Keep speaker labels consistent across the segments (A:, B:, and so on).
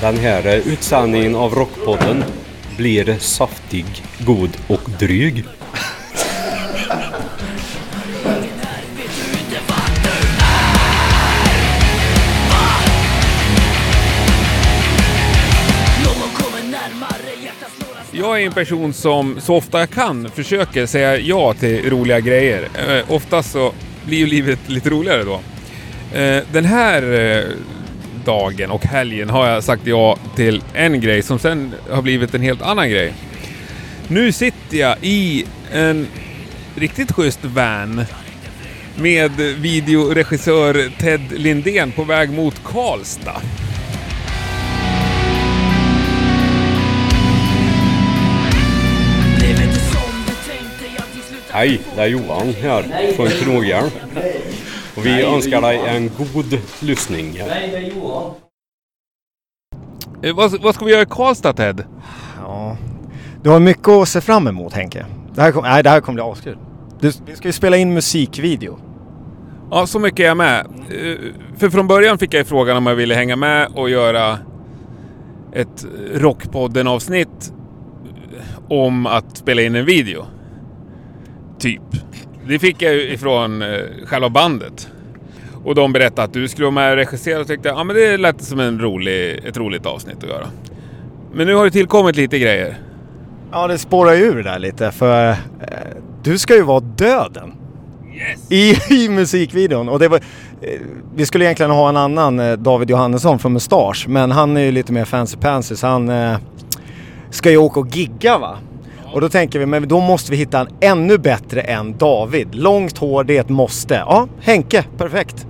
A: den här eh, utsändningen av Rockpodden blir saftig, god och dryg.
B: Jag är en person som så ofta jag kan försöker säga ja till roliga grejer. Eh, oftast så blir ju livet lite roligare då. Eh, den här eh, dagen och helgen har jag sagt ja till en grej som sen har blivit en helt annan grej. Nu sitter jag i en riktigt schysst van med videoregissör Ted Lindén på väg mot Karlstad.
A: Hej, det är Johan här från Knogjärn. Och vi önskar dig en god lyssning.
B: Eh, vad, vad ska vi göra i Karlstad Ted?
C: Ja. Du har mycket att se fram emot Henke. Det här, kom, nej, det här kommer bli askul. Du, vi ska ju spela in musikvideo.
B: Ja, så mycket är jag med. Eh, För från början fick jag frågan om jag ville hänga med och göra ett Rockpodden-avsnitt om att spela in en video. Typ. Det fick jag ju ifrån eh, själva bandet. Och de berättade att du skulle vara med och regissera och tyckte jag, ja men det lät som en rolig, ett roligt avsnitt att göra. Men nu har det tillkommit lite grejer.
C: Ja, det spårar ju ur där lite för eh, du ska ju vara döden. I, I musikvideon. Och det var, eh, vi skulle egentligen ha en annan eh, David Johannesson från Mustasch men han är ju lite mer fancy pansy så han eh, ska ju åka och gigga va. Och då tänker vi, men då måste vi hitta en ännu bättre än David. Långt hår, det är ett måste. Ja, Henke, perfekt.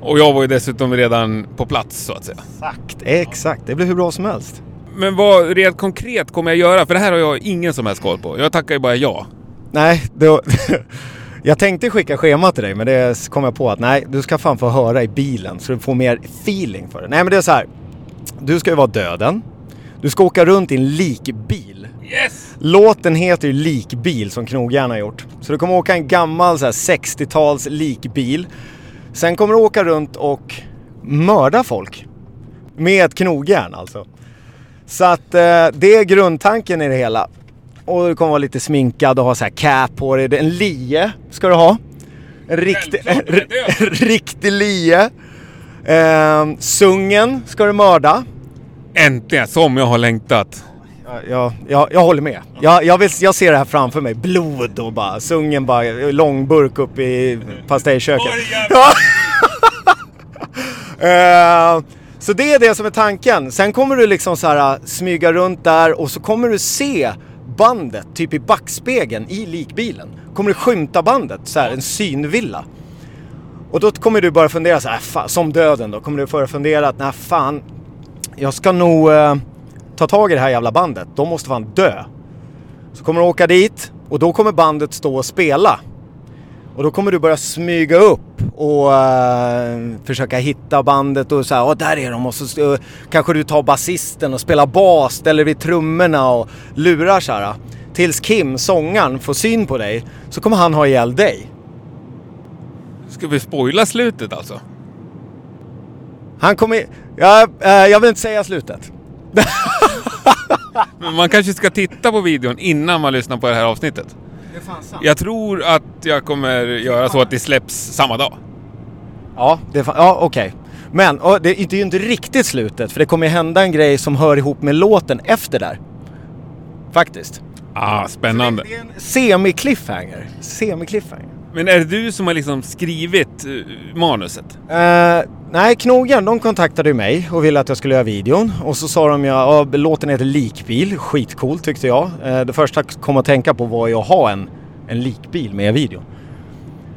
B: Och jag var ju dessutom redan på plats så att säga.
C: Exakt, exakt. Det blir hur bra som helst.
B: Men vad rent konkret kommer jag göra? För det här har jag ingen som helst koll på. Jag tackar ju bara ja.
C: Nej, då, jag tänkte skicka schema till dig men det kom jag på att nej, du ska fan få höra i bilen så du får mer feeling för det. Nej men det är så här. Du ska ju vara döden. Du ska åka runt i en likbil.
B: Yes!
C: Låten heter ju Likbil som Knogjärn har gjort. Så du kommer åka en gammal så här 60-tals likbil. Sen kommer du åka runt och mörda folk. Med ett knogjärn alltså. Så att eh, det är grundtanken i det hela. Och du kommer vara lite sminkad och ha så här cap på dig. Det är En lie ska du ha. En riktig,
B: Självklart, det är
C: en riktig lie. Ehm, sungen ska du mörda.
B: Äntligen! Som jag har längtat.
C: Ja, Jag, jag, jag håller med. Jag, jag, vill, jag ser det här framför mig. Blod och bara sungen bara långburk upp i pastejköket. Eh, så det är det som är tanken. Sen kommer du liksom så här eh, smyga runt där och så kommer du se bandet typ i backspegeln i likbilen. Kommer du skymta bandet så här en synvilla. Och då kommer du börja fundera så här, "Äh, fan, som döden då, kommer du börja fundera att nej fan, jag ska nog eh, ta tag i det här jävla bandet. De måste fan dö. Så kommer du åka dit och då kommer bandet stå och spela. Och då kommer du börja smyga upp och eh, försöka hitta bandet och så här, "Åh, där är de och så eh, kanske du tar basisten och spelar bas, ställer vid trummorna och lurar så här. Tills Kim, sångaren, får syn på dig så kommer han ha ihjäl dig.
B: Ska vi spoila slutet alltså?
C: Han kommer... Ja, eh, jag vill inte säga slutet.
B: Men man kanske ska titta på videon innan man lyssnar på det här avsnittet. Jag tror att jag kommer göra så att det släpps samma dag.
C: Ja, det är fan, ja okej. Men och det, det är ju inte riktigt slutet för det kommer ju hända en grej som hör ihop med låten efter där. Faktiskt.
B: Ah, spännande.
C: Det är en semi-cliffhanger. Semi-cliffhanger.
B: Men är det du som har liksom skrivit eh, manuset?
C: Eh, nej, Knogen, de kontaktade ju mig och ville att jag skulle göra videon. Och så sa de, ja, ja, låten heter Likbil, skitcool tyckte jag. Eh, det första jag kom att tänka på var ju att ha en, en likbil med i videon.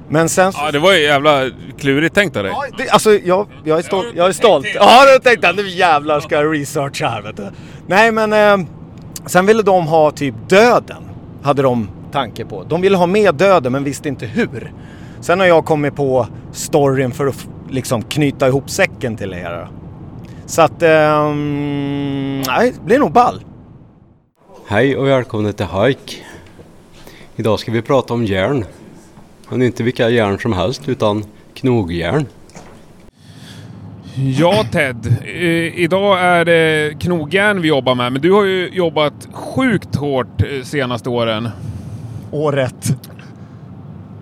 C: Men sen så...
B: Ja, det var ju jävla klurigt tänkt av dig.
C: Ja, det, alltså jag, jag är stolt. Jag är stolt. Ja, då tänkte jag nu jävlar ska jag researcha här vet du. Nej men, eh, sen ville de ha typ döden. Hade de tanke på. De ville ha med döden men visste inte hur. Sen har jag kommit på storyn för att f- liksom knyta ihop säcken till er. då. Så att, ehm, nej, det blir nog ball.
A: Hej och välkomna till Hike. Idag ska vi prata om järn. Men inte vilka järn som helst utan knogjärn.
B: Ja Ted, Eh, idag är det knogjärn vi jobbar med, men du har ju jobbat sjukt hårt eh, senaste åren.
C: Året.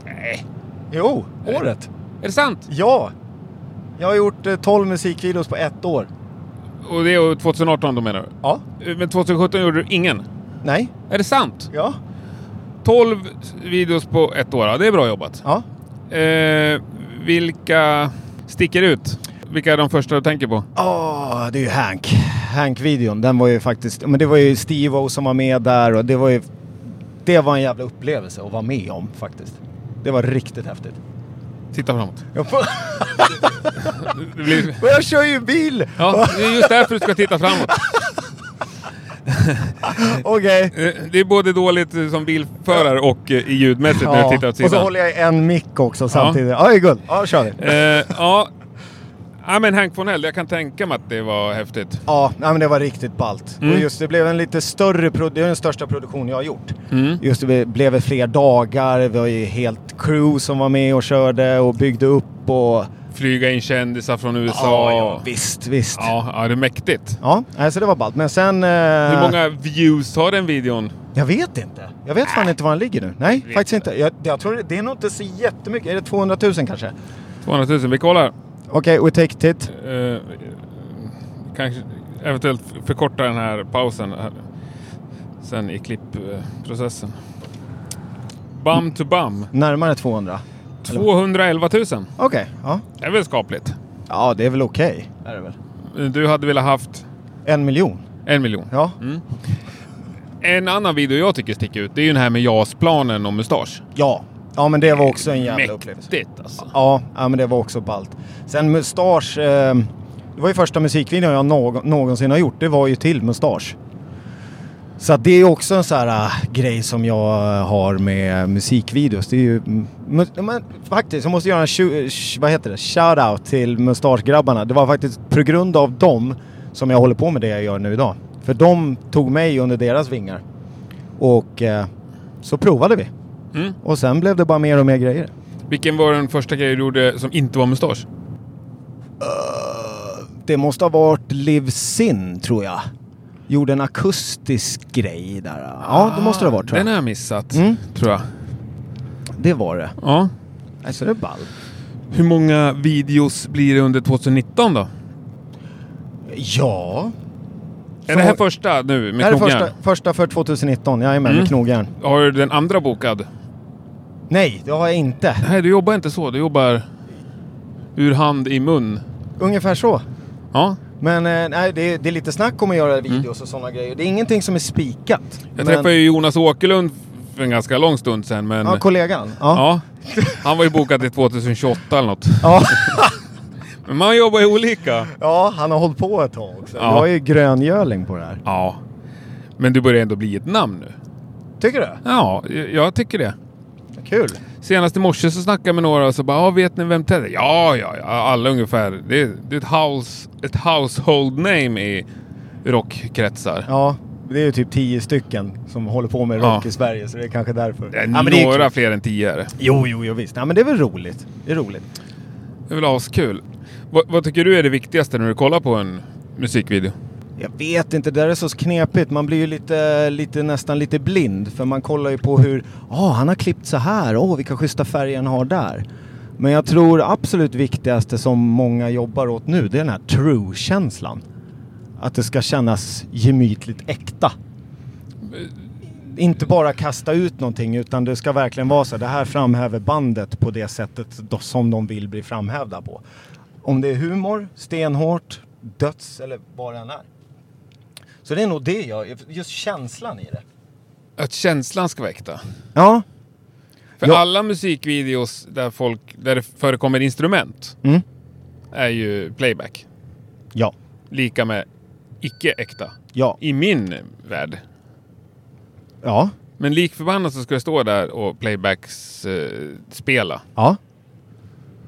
B: Nej.
C: Jo, året.
B: Är det sant?
C: Ja. Jag har gjort eh, 12 musikvideos på ett år.
B: Och det är 2018 då menar
C: Ja.
B: du? Eh, Men 2017 gjorde du ingen?
C: Nej.
B: Är det sant?
C: Ja.
B: 12 videos på ett år, ja, det är bra jobbat.
C: Ja.
B: Eh, vilka sticker ut? Vilka är de första du tänker på?
C: Ja, Ah, det är ju Hank. Hank-videon, den var ju faktiskt... Men det var ju Steve-O som var med där och det var ju... Det var en jävla upplevelse att vara med om faktiskt. Det var riktigt häftigt.
B: Titta framåt.
C: Jag, får,
B: Det blir...
C: och jag kör ju bil!
B: Ja, det är just därför du ska titta framåt.
C: Okej.
B: Eh, Det är både dåligt eh, som bilförare och eh, i ljudmässigt när du
C: Ja.
B: tittar åt sidan.
C: Och så håller jag i en mick också samtidigt. Ja, det är guld. Ja, kör vi.
B: Eh, ja. ja, men Hank Fonell, jag kan tänka mig att det var häftigt.
C: Ja, nej, men det var riktigt ballt.
B: Mm.
C: Och just det blev en lite större, pro- det är den största produktion jag har gjort.
B: Mm.
C: Just det blev fler dagar, vi var ju helt crew som var med och körde och byggde upp och...
B: Flyga in kändisar från USA.
C: Ja, ja, visst, visst. Ja,
B: ja, ja, det är mäktigt.
C: nej, så det var ballt. Men sen... eh,
B: Hur många views har den videon?
C: Jag vet inte. Jag vet fan inte var han ligger nu. Nej, faktiskt inte. Jag, jag tror det- det är nog inte så jättemycket. Är det 200 000 kanske?
B: 200 000, vi kollar.
C: Okej, we take a tit.
B: Eh, kanske eventuellt förkorta den här pausen här. sen i klippprocessen. Bam to bam.
C: Närmare 200.
B: 211 000.
C: Okej, ja.
B: Det är väl skapligt.
C: Ja, det är väl okej. Är det väl?
B: Du hade velat haft
C: En miljon.
B: en miljon.
C: Ja.
B: En annan video jag tycker sticker ut, det är ju den här med JAS-planen och mustasch.
C: Ja. Ja, men det var också en jävla upplevelse.
B: Mäktigt alltså.
C: Ja, ja, men det var också ballt. Sen Mustasch. Eh, det var ju första musikvideon jag någ- någonsin har gjort. Det var ju till Mustasch. Så att det är också en sån här eh, grej som jag eh, har med musikvideos. Det är ju... mm, mu- ja, Men, faktiskt, jag måste göra en tju- eh, sh- vad heter det? shout-out till Mustaschgrabbarna. Det var faktiskt på grund av dem som jag håller på med det jag gör nu idag. För de tog mig under deras vingar. Och eh, så provade vi.
B: Mm.
C: Och sen blev det bara mer och mer grejer.
B: Vilken var den första grejen du gjorde som inte var mustasch?
C: Det måste ha varit Liv Sin, tror jag. Gjorde en akustisk grej där. Ja, det måste det ha varit, tror
B: Den
C: jag.
B: har jag missat,
C: Mm.
B: tror jag.
C: Det var det.
B: Ja.
C: Alltså, det är ball.
B: Hur många videos blir det under 2019 då?
C: Ja.
B: Är det här första nu
C: Det
B: med
C: här är
B: knogjärn?
C: första, första för 2019. Jajamän,
B: Mm.
C: med knogjärn.
B: Har du den andra bokad?
C: Nej, det har jag inte.
B: Nej, du jobbar inte så. Du jobbar ur hand i mun.
C: Ungefär så.
B: Ja.
C: Men eh, nej, det, är- det är lite snack om att göra videos och sådana grejer. Det är ingenting som är spikat.
B: Mm. Jag
C: Men-
B: träffade ju Jonas Åkerlund för en ganska lång stund sedan, men...
C: Ja, kollegan. Ja.
B: ja. Han var ju bokad till 2028 eller något.
C: Ja.
B: Men man jobbar ju olika.
C: ja, han har hållit på ett tag också.
B: Ja.
C: Jag är ju gröngöling på det här.
B: Ja. Men du börjar ändå bli ett namn nu.
C: Tycker du?
B: Ja, jag jag tycker det.
C: Kul.
B: Senast i morse så snackade jag med några och så bara, ah, vet ni vem Ted är? Ja, ja, ja, alla ungefär. Det är, det är ett, house, ett household name i rockkretsar.
C: Ja, det är ju typ tio stycken som håller på med rock
B: Ja.
C: i Sverige så det är kanske därför.
B: Det är
C: men det är
B: några
C: kul.
B: fler än tio är det.
C: Jo, jo, jo visst. Ja, men det är väl roligt. Det är roligt.
B: Det är väl askul. Vad- vad tycker du är det viktigaste när du kollar på en musikvideo?
C: Jag vet inte, det där är så knepigt. Man blir ju lite, lite, nästan lite blind för man kollar ju på hur, ja han har klippt så här, åh vilka schyssta färger han har där. Men jag tror absolut viktigaste som många jobbar åt nu, det är den här true-känslan. Att det ska kännas gemytligt äkta. Inte bara kasta ut någonting utan det ska verkligen vara så här, det här framhäver bandet på det sättet då- som de vill bli framhävda på. Om det är humor, stenhårt, döds eller vad det än är. Så det är nog det jag, just känslan i det.
B: Att känslan ska väckta.
C: Ja.
B: För
C: Ja.
B: alla musikvideos där, folk, där det förekommer instrument
C: Mm.
B: är ju playback.
C: Ja.
B: Lika med icke äkta.
C: Ja.
B: I min värld.
C: Ja.
B: Men lik förbannat så ska jag stå där och playbacks eh, spela.
C: Ja.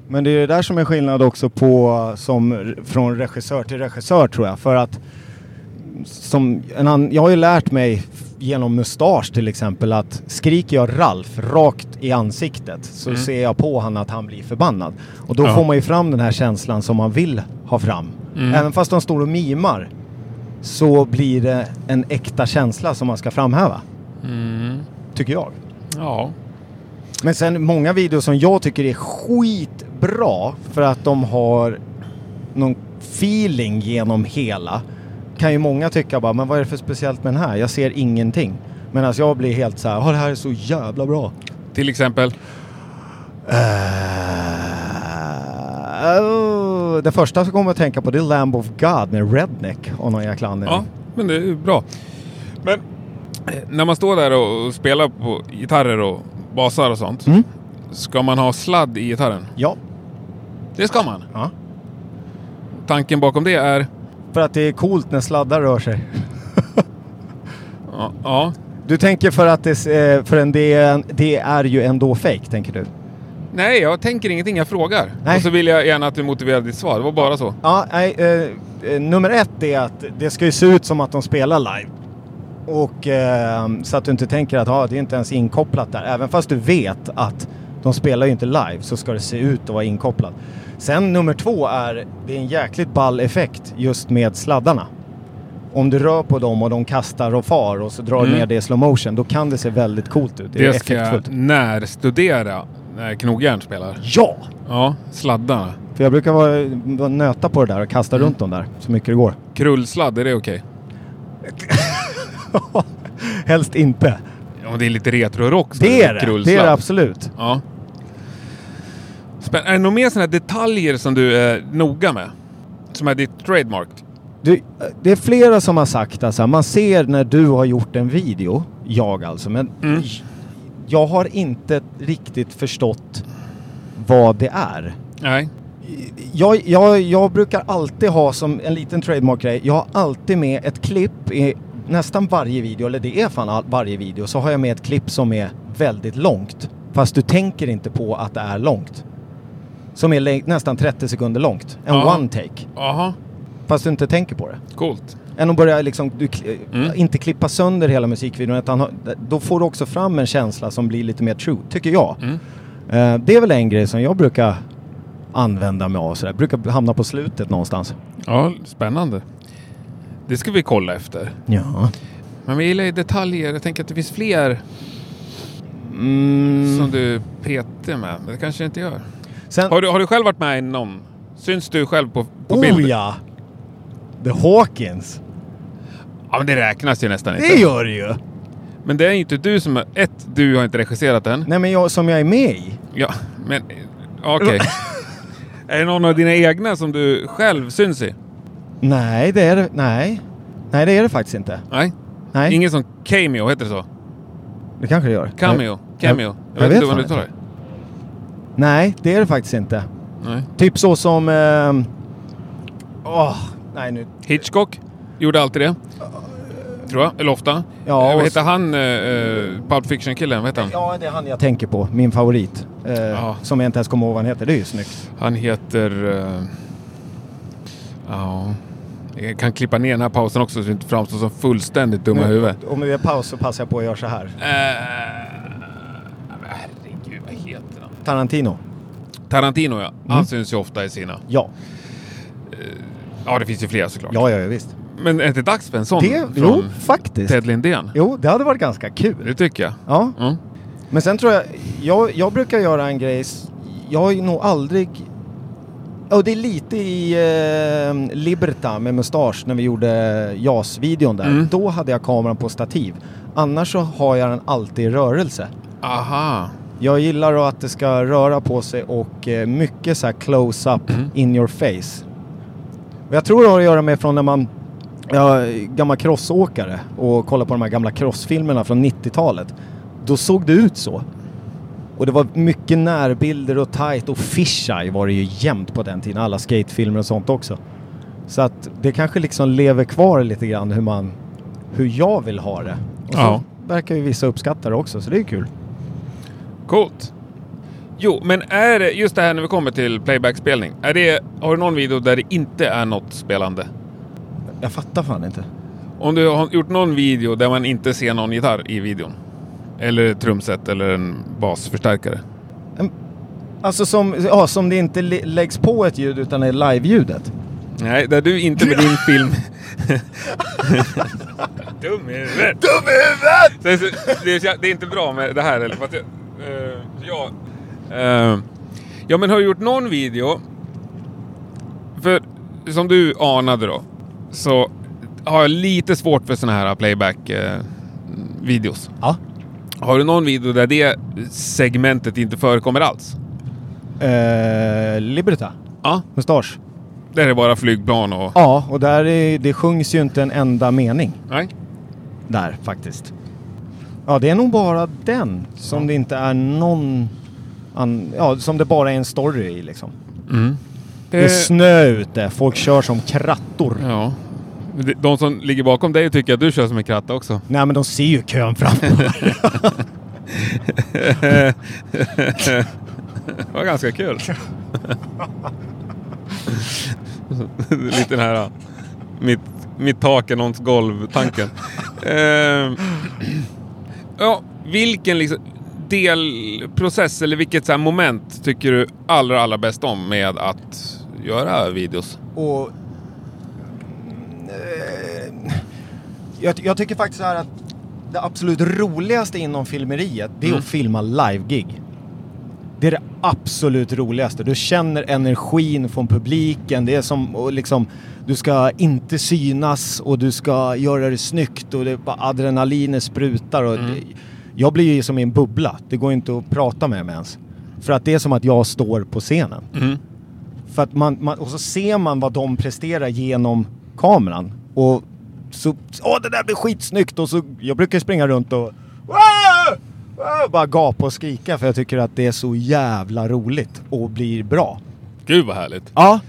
C: Men det är det där som är skillnad också på som från regissör till regissör tror jag. För att som en annan, jag har ju lärt mig genom mustasch till exempel att skriker jag Ralf rakt i ansiktet så ser jag på han att han blir förbannad. Och då
B: Ja.
C: får man ju fram den här känslan som man vill ha fram. Även fast de står och mimar så blir det en äkta känsla som man ska framhäva. Tycker jag.
B: Mm, Ja.
C: Men sen många videos som jag tycker är skitbra för att de har någon feeling genom hela. Kan ju många tycka bara, men vad är det för speciellt med den här? Jag ser ingenting. Medan jag blir helt så här, "Ja, det här är så jävla bra.
B: Till exempel.
C: Eh, oh, det första som kommer jag att tänka på det är Lamb of God med Redneck av någon jäkla
B: Ja,
C: anledning.
B: men det är ju bra. Men eh, när man står där och och spelar på gitarrer och basar och sånt.
C: Mm.
B: Ska man ha sladd i gitarren?
C: Ja.
B: Det ska man.
C: ja.
B: Tanken bakom det är...
C: För att det är coolt när sladdar rör sig.
B: Ja, ja.
C: Du tänker för att det, eh, för en, det, är en- det är ju ändå fake, tänker du?
B: Nej, jag tänker ingenting. Jag frågar.
C: Nej.
B: Och så vill jag gärna att du motiverar ditt svar. Det var bara så.
C: Ja, nej, eh, eh, nummer ett är att det ska ju se ut som att de spelar live. Och eh, så att du inte tänker att ah, det är inte ens inkopplat där. Även fast du vet att de spelar ju inte live så ska det se ut att vara inkopplat. Sen nummer två är det är en jäkligt ball effekt just med sladdarna. Om du rör på dem och de kastar och far och så drar du
B: Mm.
C: ner det i slow motion då kan det se väldigt coolt ut. Det,
B: Det
C: är
B: ska
C: effektfullt.
B: jag närstudera när knogjärn spelar.
C: Ja!
B: Ja, sladdarna.
C: För jag brukar vara, vara nöta på det där och kasta
B: Mm.
C: runt dem där så mycket det går.
B: Krullsladd, är det okej?
C: Helst inte.
B: Ja, men det är lite retro-rock. som
C: Det är det. Det
B: krullsladd.
C: är det absolut.
B: Ja. Spänn- är det några mer sådana här detaljer som du är noga med? Som är ditt trademark?
C: Du, det är flera som har sagt att så här, man ser när du har gjort en video, jag alltså, men
B: Mm.
C: jag har inte riktigt förstått vad det är.
B: Nej.
C: Jag, jag, jag brukar alltid ha som en liten trademark-grej, jag har alltid med ett klipp i nästan varje video, eller det är fan all, varje video, så har jag med ett klipp som är väldigt långt. Fast du tänker inte på att det är långt. Som är lä- nästan 30 sekunder långt. En
B: Ja.
C: one take.
B: Jaha,
C: Fast du inte tänker på det.
B: coolt.
C: Än att börja liksom, du, kli-
B: Mm.
C: inte klippa sönder hela musikvideon. Utan ha- då får du också fram en känsla som blir lite mer true, tycker jag.
B: Mm.
C: Eh, det är väl en grej som jag brukar använda mig av. Sådär. Brukar hamna på slutet någonstans.
B: Ja, spännande. Det ska vi kolla efter.
C: Ja.
B: Men vi gillar ju detaljer. Jag tänker att det finns fler
C: Mm.
B: som du petar med. Men det kanske jag inte gör.
C: Sen,
B: Har du, har du själv varit med i någon? Syns du själv på, på
C: oh
B: bild?
C: ja! The Hawkins.
B: ja, men det räknas ju nästan
C: Det
B: inte.
C: gör det ju!
B: Men det är ju inte du som... är- Ett, du har inte regisserat den.
C: Nej men jag, som jag är med i.
B: Ja, men ja, okej. är det någon av dina egna som du själv syns i?
C: Nej, det är det, nej. Nej, det är det faktiskt inte.
B: Nej.
C: Nej,
B: Ingen som cameo, heter det så?
C: det kanske det gör.
B: Cameo? Cameo? Jag,
C: jag
B: vet
C: vet
B: inte vad
C: fan
B: du tar det.
C: Nej, det är det faktiskt inte.
B: Nej.
C: Typ så som... ehm, Åh, nej nu...
B: Hitchcock gjorde alltid det. Tror jag, eller ofta.
C: Ja,
B: Eh,
C: och
B: vad
C: så-
B: heter han, eh, eh, Pulp Fiction-killen? Vad heter han?
C: Ja, det är han jag tänker på. Min favorit. Eh,
B: Ja.
C: Som jag inte ens kommer ihåg vad han heter. Det är ju snyggt.
B: Han heter... eh, Ja... Jag kan klippa ner den här pausen också så att vi inte framstår som fullständigt dumma i huvudet.
C: Om det är paus så passar jag på att göra så här.
B: Eh, men herregud, vad heter han?
C: Tarantino.
B: Tarantino ja. Han syns ju ofta i sina.
C: Ja.
B: Ja, det finns ju flera såklart.
C: Ja, ja, ja visst.
B: Men är inte dags för en sån
C: Det,
B: från
C: jo, faktiskt.
B: Ted Lindén?
C: Jo, det hade varit ganska kul.
B: Det tycker jag.
C: Ja.
B: Mm.
C: Men sen tror jag, jag, jag brukar göra en grej, s- jag har ju nog aldrig, och det är lite i eh, Liberta med mustasch när vi gjorde JAS-videon där,
B: Mm.
C: då hade jag kameran på stativ. Annars så har jag den alltid i rörelse.
B: Aha.
C: Jag gillar att det ska röra på sig och eh, mycket så här close-up in your face. Och jag tror det har att göra med från när man ja, gammal crossåkare och kollar på de här gamla crossfilmerna från 90-talet. Då såg det ut så. Och det var mycket närbilder och tight och fisheye var det ju jämt på den tiden. Alla skatefilmer och sånt också. Så att det kanske liksom lever kvar lite grann hur man, hur jag vill ha det. Och så
B: Ja.
C: verkar ju vissa uppskatta det också så det är ju kul.
B: Coolt. Jo, men är det just det här när vi kommer till playbackspelning. Är det, har du någon video där det inte är något spelande?
C: Jag fattar fan inte.
B: Om du har gjort någon video där man inte ser någon gitarr i videon. Eller ett trumset eller en basförstärkare.
C: Alltså som, ja, som det inte li- läggs på ett ljud utan är live-ljudet.
B: Nej, där du inte med din film... Dum i huvudet!
C: Dum i huvudet!
B: Sen så- det, är- det är inte bra med det här heller. För att jag, eh, jag, eh, ja, men har du gjort någon video? För som du anade då, så har jag lite svårt för såna här playback-videos.
C: Ja.
B: har du någon video där det segmentet inte förekommer alls?
C: Eh, Liberta.
B: Ja.
C: Mustasch.
B: Där är det bara flygplan och...
C: Ja, och där är, det sjungs ju inte en enda mening
B: Nej.
C: där faktiskt. Ja, det är nog bara den som det inte är någon... An, ja, som det bara är en story i liksom. Det är snö ute, folk kör som krattor.
B: Ja. De som ligger bakom dig tycker att du kör som en kratta också.
C: Nej, men de ser ju kön framför.
B: Det var ganska kul. Lite den här mitt, mitt tak är någons golv-tanken. Ehm, ja, vilken liksom delprocess eller vilket så här moment tycker du allra, allra bäst om med att göra videos?
C: Och... eh, Jag, jag tycker faktiskt så här att det absolut roligaste inom filmeriet, det är att filma live-gig. Det är det absolut roligaste. Du känner energin från publiken. Det är som och liksom, du ska inte synas och du ska göra det snyggt och det är bara adrenalinet sprutar. Och det, jag blir ju som i en bubbla. Det går inte att prata med mig ens. För att det är som att jag står på scenen. För att man, man, och så ser man vad de presterar genom kameran. Och så, åh det där blir skitsnyggt! Och så, jag brukar springa runt och "Wow! Wow!" bara gapa och skrika för jag tycker att det är så jävla roligt och blir bra.
B: Gud vad härligt.
C: Ja,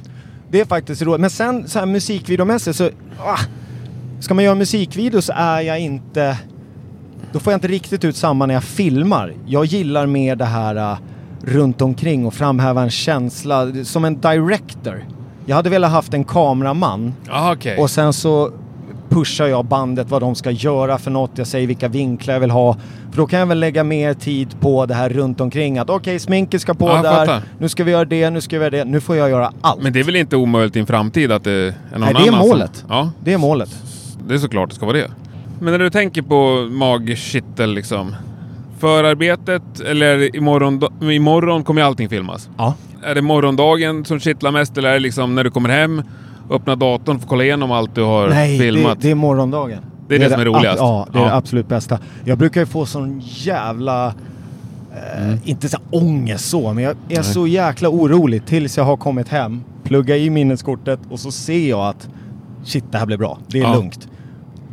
C: det är faktiskt roligt. Men sen så här musikvideomässigt så... Ah, ska man göra musikvideo så är jag inte... Då får jag inte riktigt ut samma när jag filmar. Jag gillar mer det här ah, runt omkring och framhäva en känsla. Som en director. Jag hade velat haft en kameraman
B: Ah, okej.
C: och sen så pushar jag bandet vad de ska göra för något. Jag säger vilka vinklar jag vill ha. För då kan jag väl lägga mer tid på det här runt omkring. Att okej, sminket ska på
B: Ja, jag
C: där.
B: fattar.
C: Nu ska vi göra det, nu ska vi göra det. Nu får jag göra allt.
B: Men det är väl inte omöjligt i en framtid att det är någon annan
C: Nej, det är
B: som-
C: målet.
B: Ja,
C: Det är målet.
B: Det är såklart det ska vara det. Men när du tänker på magkittel liksom. Förarbetet eller imorgon, imorgon kommer ju allting filmas.
C: Ja.
B: Är det morgondagen som kittlar mest eller är det liksom när du kommer hem, öppna datorn och kolla igenom allt du har
C: Nej, det,
B: filmat?
C: det är morgondagen.
B: Det är det som är roligast.
C: Ja, det är
B: Ja.
C: det absolut bästa. Jag brukar ju få sån jävla... Eh, Inte så här ångest så, men jag är så jäkla orolig tills jag har kommit hem, plugga i minneskortet och så ser jag att shit, det här blir bra. Det är
B: Ja.
C: lugnt.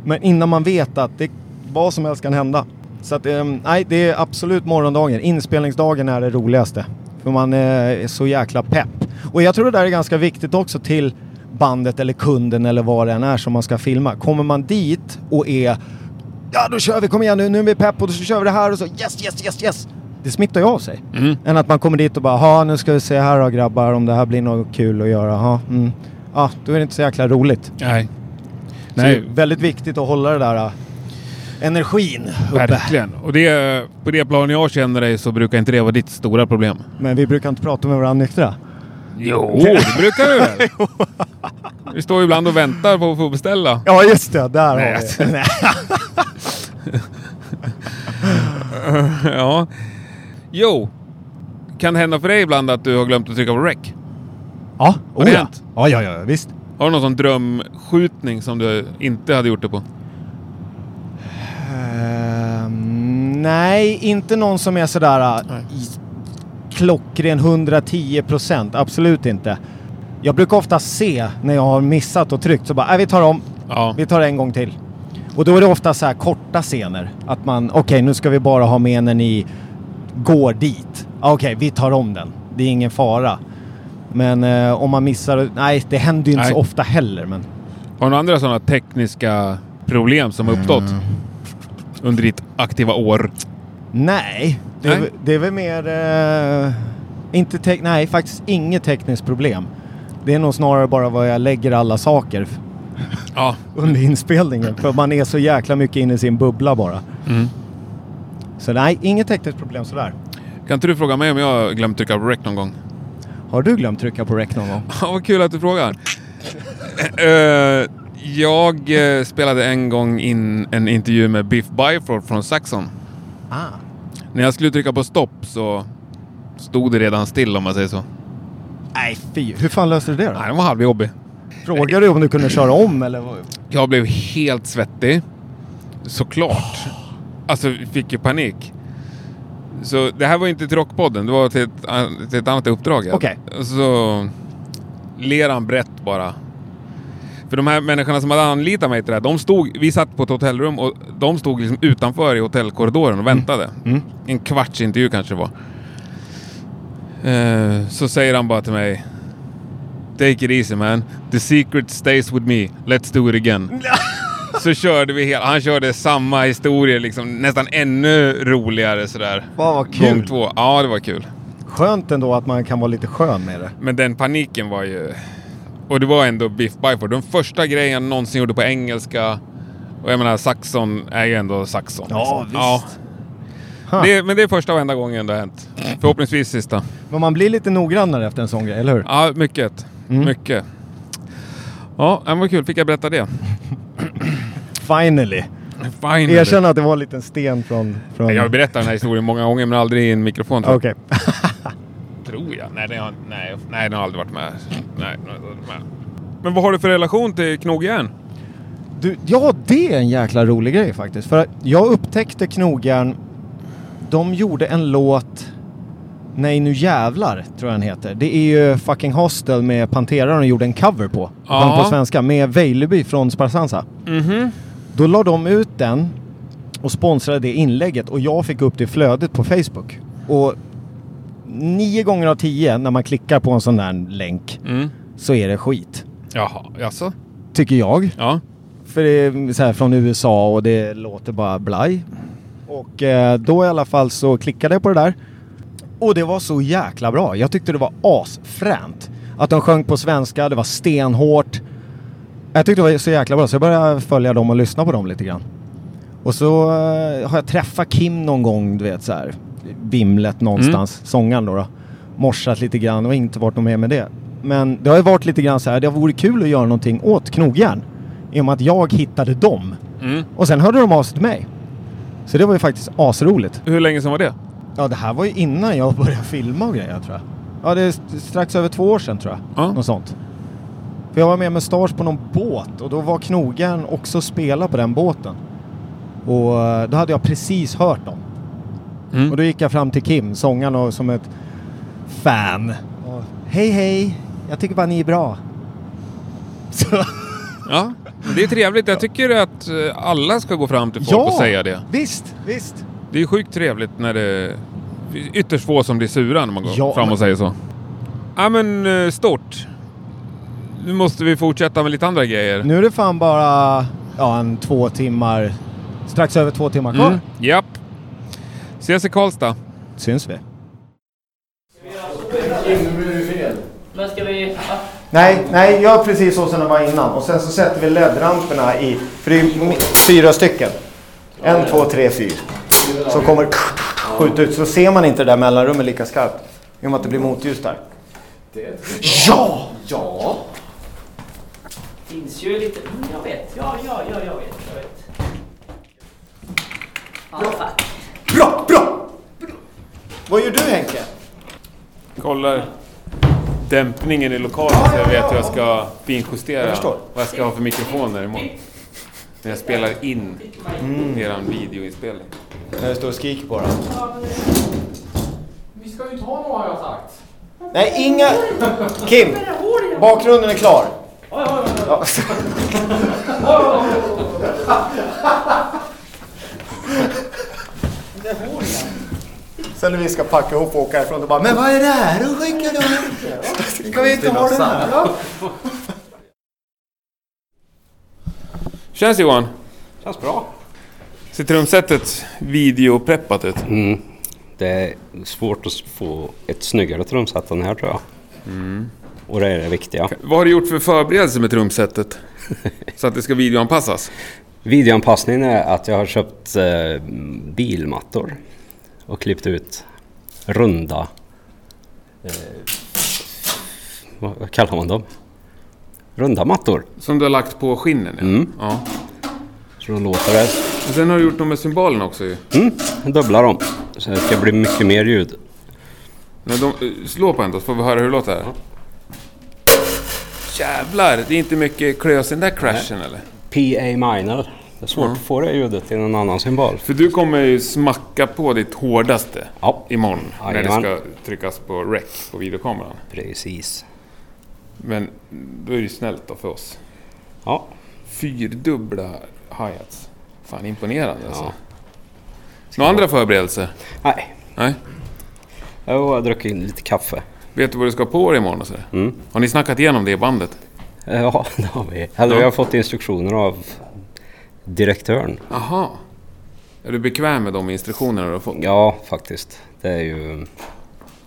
C: Men innan man vet att det, vad som helst kan hända. Så att, eh, nej, det är absolut morgondagen. Inspelningsdagen är det roligaste. För man eh, är så jäkla pepp. Och jag tror det där är ganska viktigt också till bandet eller kunden eller vad det än är som man ska filma. Kommer man dit och är Ja, då kör vi, kom igen nu, nu är vi pepp och då kör vi det här och så yes, yes, yes, yes. Det smittar ju av sig. Än att man kommer dit och bara, ha nu ska vi se här då grabbar om det här blir något kul att göra. Ja, mm. ja då är det inte så jäkla roligt.
B: Nej.
C: Nej.
B: Nej.
C: Så det är väldigt viktigt att hålla det där eh, energin uppe.
B: Verkligen. Och det, på det plan jag känner dig så brukar inte det vara ditt stora problem.
C: Men vi brukar inte prata med varandra nyktra.
B: Jo, det brukar vi väl? Vi står ju ibland och väntar på att få beställa.
C: Ja, just det. Där
B: Nej,
C: har
B: alltså.
C: vi det.
B: Ja. Jo. Kan det hända för dig ibland att du har glömt att trycka på rec?
C: Ja,
B: det
C: oh, ja.
B: hänt?
C: ja, ja, ja, visst.
B: Har du någon sån drömskjutning som du inte hade gjort det på?
C: Ehm, nej, inte någon som är sådär eh, klockren 110 procent. Absolut inte. Jag brukar ofta se när jag har missat och tryckt så bara, "Nej, vi tar om,
B: Ja.
C: vi tar en gång till. Och då är det ofta så här korta scener. Att man, okej nu ska vi bara ha med när ni går dit. Ja, Okej, vi tar om den. Det är ingen fara. Men eh, om man missar, nej det händer ju inte
B: Nej.
C: så ofta heller. Men
B: Har du några andra sådana tekniska problem som har uppstått? Under ditt aktiva år?
C: Nej, det, Är,
B: Nej.
C: väl- det är väl mer... eh, inte te- nej, faktiskt inget tekniskt problem. Det är nog snarare bara var jag lägger alla saker.
B: Ja,
C: under inspelningen. För man är så jäkla mycket inne i sin bubbla bara.
B: Mm.
C: Så nej, inget tekniskt problem sådär.
B: kan inte du fråga mig om jag har glömt trycka på rec någon gång?
C: Har du glömt trycka på rec någon gång?
B: Ja, vad kul att du frågar. Eh, jag eh, spelade en gång in en intervju med Biff Byford från Saxon.
C: Ah.
B: När jag skulle trycka på stopp så stod det redan still om man säger så.
C: Nej, fy. Hur fan löste du det då?
B: Nej, den var halvjobbig.
C: Frågade du om du kunde köra om eller? vad?
B: Jag blev helt svettig. Såklart. Alltså, vi fick ju panik. Så det här var inte till Rockpodden, det var till ett, an- till ett annat uppdrag. jag hade. Så ler han brett bara. För de här människorna som hade anlitat mig till det här, de stod, vi satt på ett hotellrum och de stod liksom utanför i hotellkorridoren och väntade. En kvarts intervju kanske det var. Eh, så säger han bara till mig Take it easy man. The secret stays with me. Let's do it again. Så körde vi hela, han körde samma historier liksom, nästan ännu roligare sådär.
C: Fan vad
B: Gång
C: kul.
B: två. Ja, det var kul.
C: Skönt ändå att man kan vara lite skön med det.
B: Men den paniken var ju... Och det var ändå Biff Byford. Den första grejen jag någonsin gjorde på engelska. Och jag menar, Saxon är ju ändå Saxon.
C: Ja,
B: liksom.
C: visst.
B: Ja. Det, men det är första och enda gången det har hänt. Förhoppningsvis sista.
C: Men man blir lite noggrannare efter en sån grej, eller hur?
B: Ja, mycket. Mycket. Ja, men vad kul. Fick jag berätta det?
C: Finally.
B: Finally.
C: Erkänn att det var en liten sten från... från...
B: Jag har berättat den här historien många gånger men aldrig i en mikrofon. tror jag.
C: Okej.
B: Tror jag. Nej, den har, nej, nej, den har aldrig varit med. Nej, den har aldrig varit med. Men vad har du för relation till knogjärn?
C: Du, ja, det är en jäkla rolig grej faktiskt. För att jag upptäckte Knogjärn. De gjorde en låt, Nej nu jävlar, tror jag den heter. Det är ju fucking Hostel med Pantera de gjorde en cover på.
B: Ja.
C: Den på svenska, med Vejleby från Sparsansa.
B: Mm-hmm.
C: Då la de ut den och sponsrade det inlägget och jag fick upp det i flödet på Facebook. Och nio gånger av tio när man klickar på en sån där länk
B: Mm.
C: så är det skit.
B: Jaha, jaså?
C: Tycker jag.
B: Ja.
C: För det är så här från USA och det låter bara blaj. Och eh, då i alla fall så klickade jag på det där. Och det var så jäkla bra. Jag tyckte det var asfränt. Att de sjöng på svenska, det var stenhårt. Jag tyckte det var så jäkla bra så jag började följa dem och lyssna på dem lite grann. Och så eh, har jag träffat Kim någon gång, du vet så här. Vimlet någonstans, sångaren då, då. Morsat lite grann och inte varit något mer med det. Men det har ju varit lite grann så här, det vore kul att göra någonting åt knogjärn. I och med att jag hittade dem.
B: Mm.
C: Och sen hörde de av sig till mig. Så det var ju faktiskt asroligt.
B: Hur länge sedan var det?
C: Ja, det här var ju innan jag började filma och grejer tror jag. Ja, det är st- strax över två år sedan tror jag.
B: Ja.
C: Något sånt. För jag var med med Stars på någon båt och då var Knogjärn också spela på den båten. Och eh, då hade jag precis hört dem.
B: Mm.
C: Och då gick jag fram till Kim, sångaren, och som ett fan. Och, hej hej, jag tycker bara ni är bra. Så,
B: Ja, men det är trevligt. Jag tycker att eh, alla ska gå fram till folk och säga det.
C: visst, visst.
B: Det är sjukt trevligt när det... det är Ytterst få som blir sura när man går
C: Ja,
B: fram och
C: men-
B: säger så. Ja, men eh, stort. Nu måste vi fortsätta med lite andra grejer.
C: Nu är det fan bara ja, en två timmar, strax över två timmar kvar.
B: Mm. Japp. Ses i Karlstad.
C: Syns vi.
D: Men ska vi... ja.
C: Nej, nej, gör precis så som det var innan. Och sen så sätter vi LED-ramperna i, för det är m- fyra stycken. En, två, tre, fyra. Så kommer skjuta ut, så ser man inte det där mellanrummet lika skarpt. I och med att det blir motljus där. Ja! Ja!
D: Finns ju lite... Mm, jag vet. Ja, ja, ja, jag vet. Jag vet. Ja, fuck.
C: Bra, bra! Vad gör du Henke?
B: Kollar dämpningen i lokalen så jag vet hur jag ska finjustera
C: Jag förstår.
B: vad jag ska ha för mikrofoner imorgon. När jag spelar in
C: Mm.
B: eran videoinspelning.
C: När du står och skriker bara.
E: Vi ska ju ta några har jag sagt.
C: Nej, inga... Kim, bakgrunden är klar. Ja. Sen när vi ska packa ihop och åka härifrån, då bara Men vad är det här du skickar då? Ska vi inte ha den här? då?"
B: Känns det, Johan?
A: Känns bra.
B: Ser trumsetet videopreppat ut?
A: Det är svårt att få ett snyggare trumset än här tror jag. Och det är det viktiga.
B: Vad har du gjort för förberedelser med trumsetet? Så att det ska videoanpassas.
A: Videoanpassningen är att jag har köpt eh, bilmattor och klippt ut runda... Eh, vad vad kallar man dem? Runda mattor.
B: Som du har lagt på skinnen? ja.
A: Mm.
B: Ja.
A: Så då låter det.
B: Och sen har du gjort något med symbolen också ju.
A: Mm, jag dubblar dem. Så det ska bli mycket mer ljud.
B: Men de, eh, slå på en då så får vi höra hur det låter. Jävlar, det är inte mycket klös i den där crashen eller?
A: PA minor. Det är svårt att få det ljudet till någon annan symbol.
B: För du kommer ju smacka på ditt hårdaste
A: Ja,
B: imorgon när det
A: Jajamän.
B: ska tryckas på rec på videokameran.
A: precis.
B: Men då är det ju snällt då för oss.
A: Ja,
B: Fyrdubbla hi-hats. Fan imponerande alltså.
A: Ja.
B: Några andra förberedelser?
A: nej.
B: Nej?
A: Jag har druckit in lite kaffe.
B: Vet du vad du ska på dig imorgon och sådär? Har ni snackat igenom det i bandet?
A: Eh, Ja, det har vi. Eller vi har fått instruktioner av direktören.
B: Aha. Är du bekväm med de instruktionerna du har fått?
A: Ja, faktiskt. Det är ju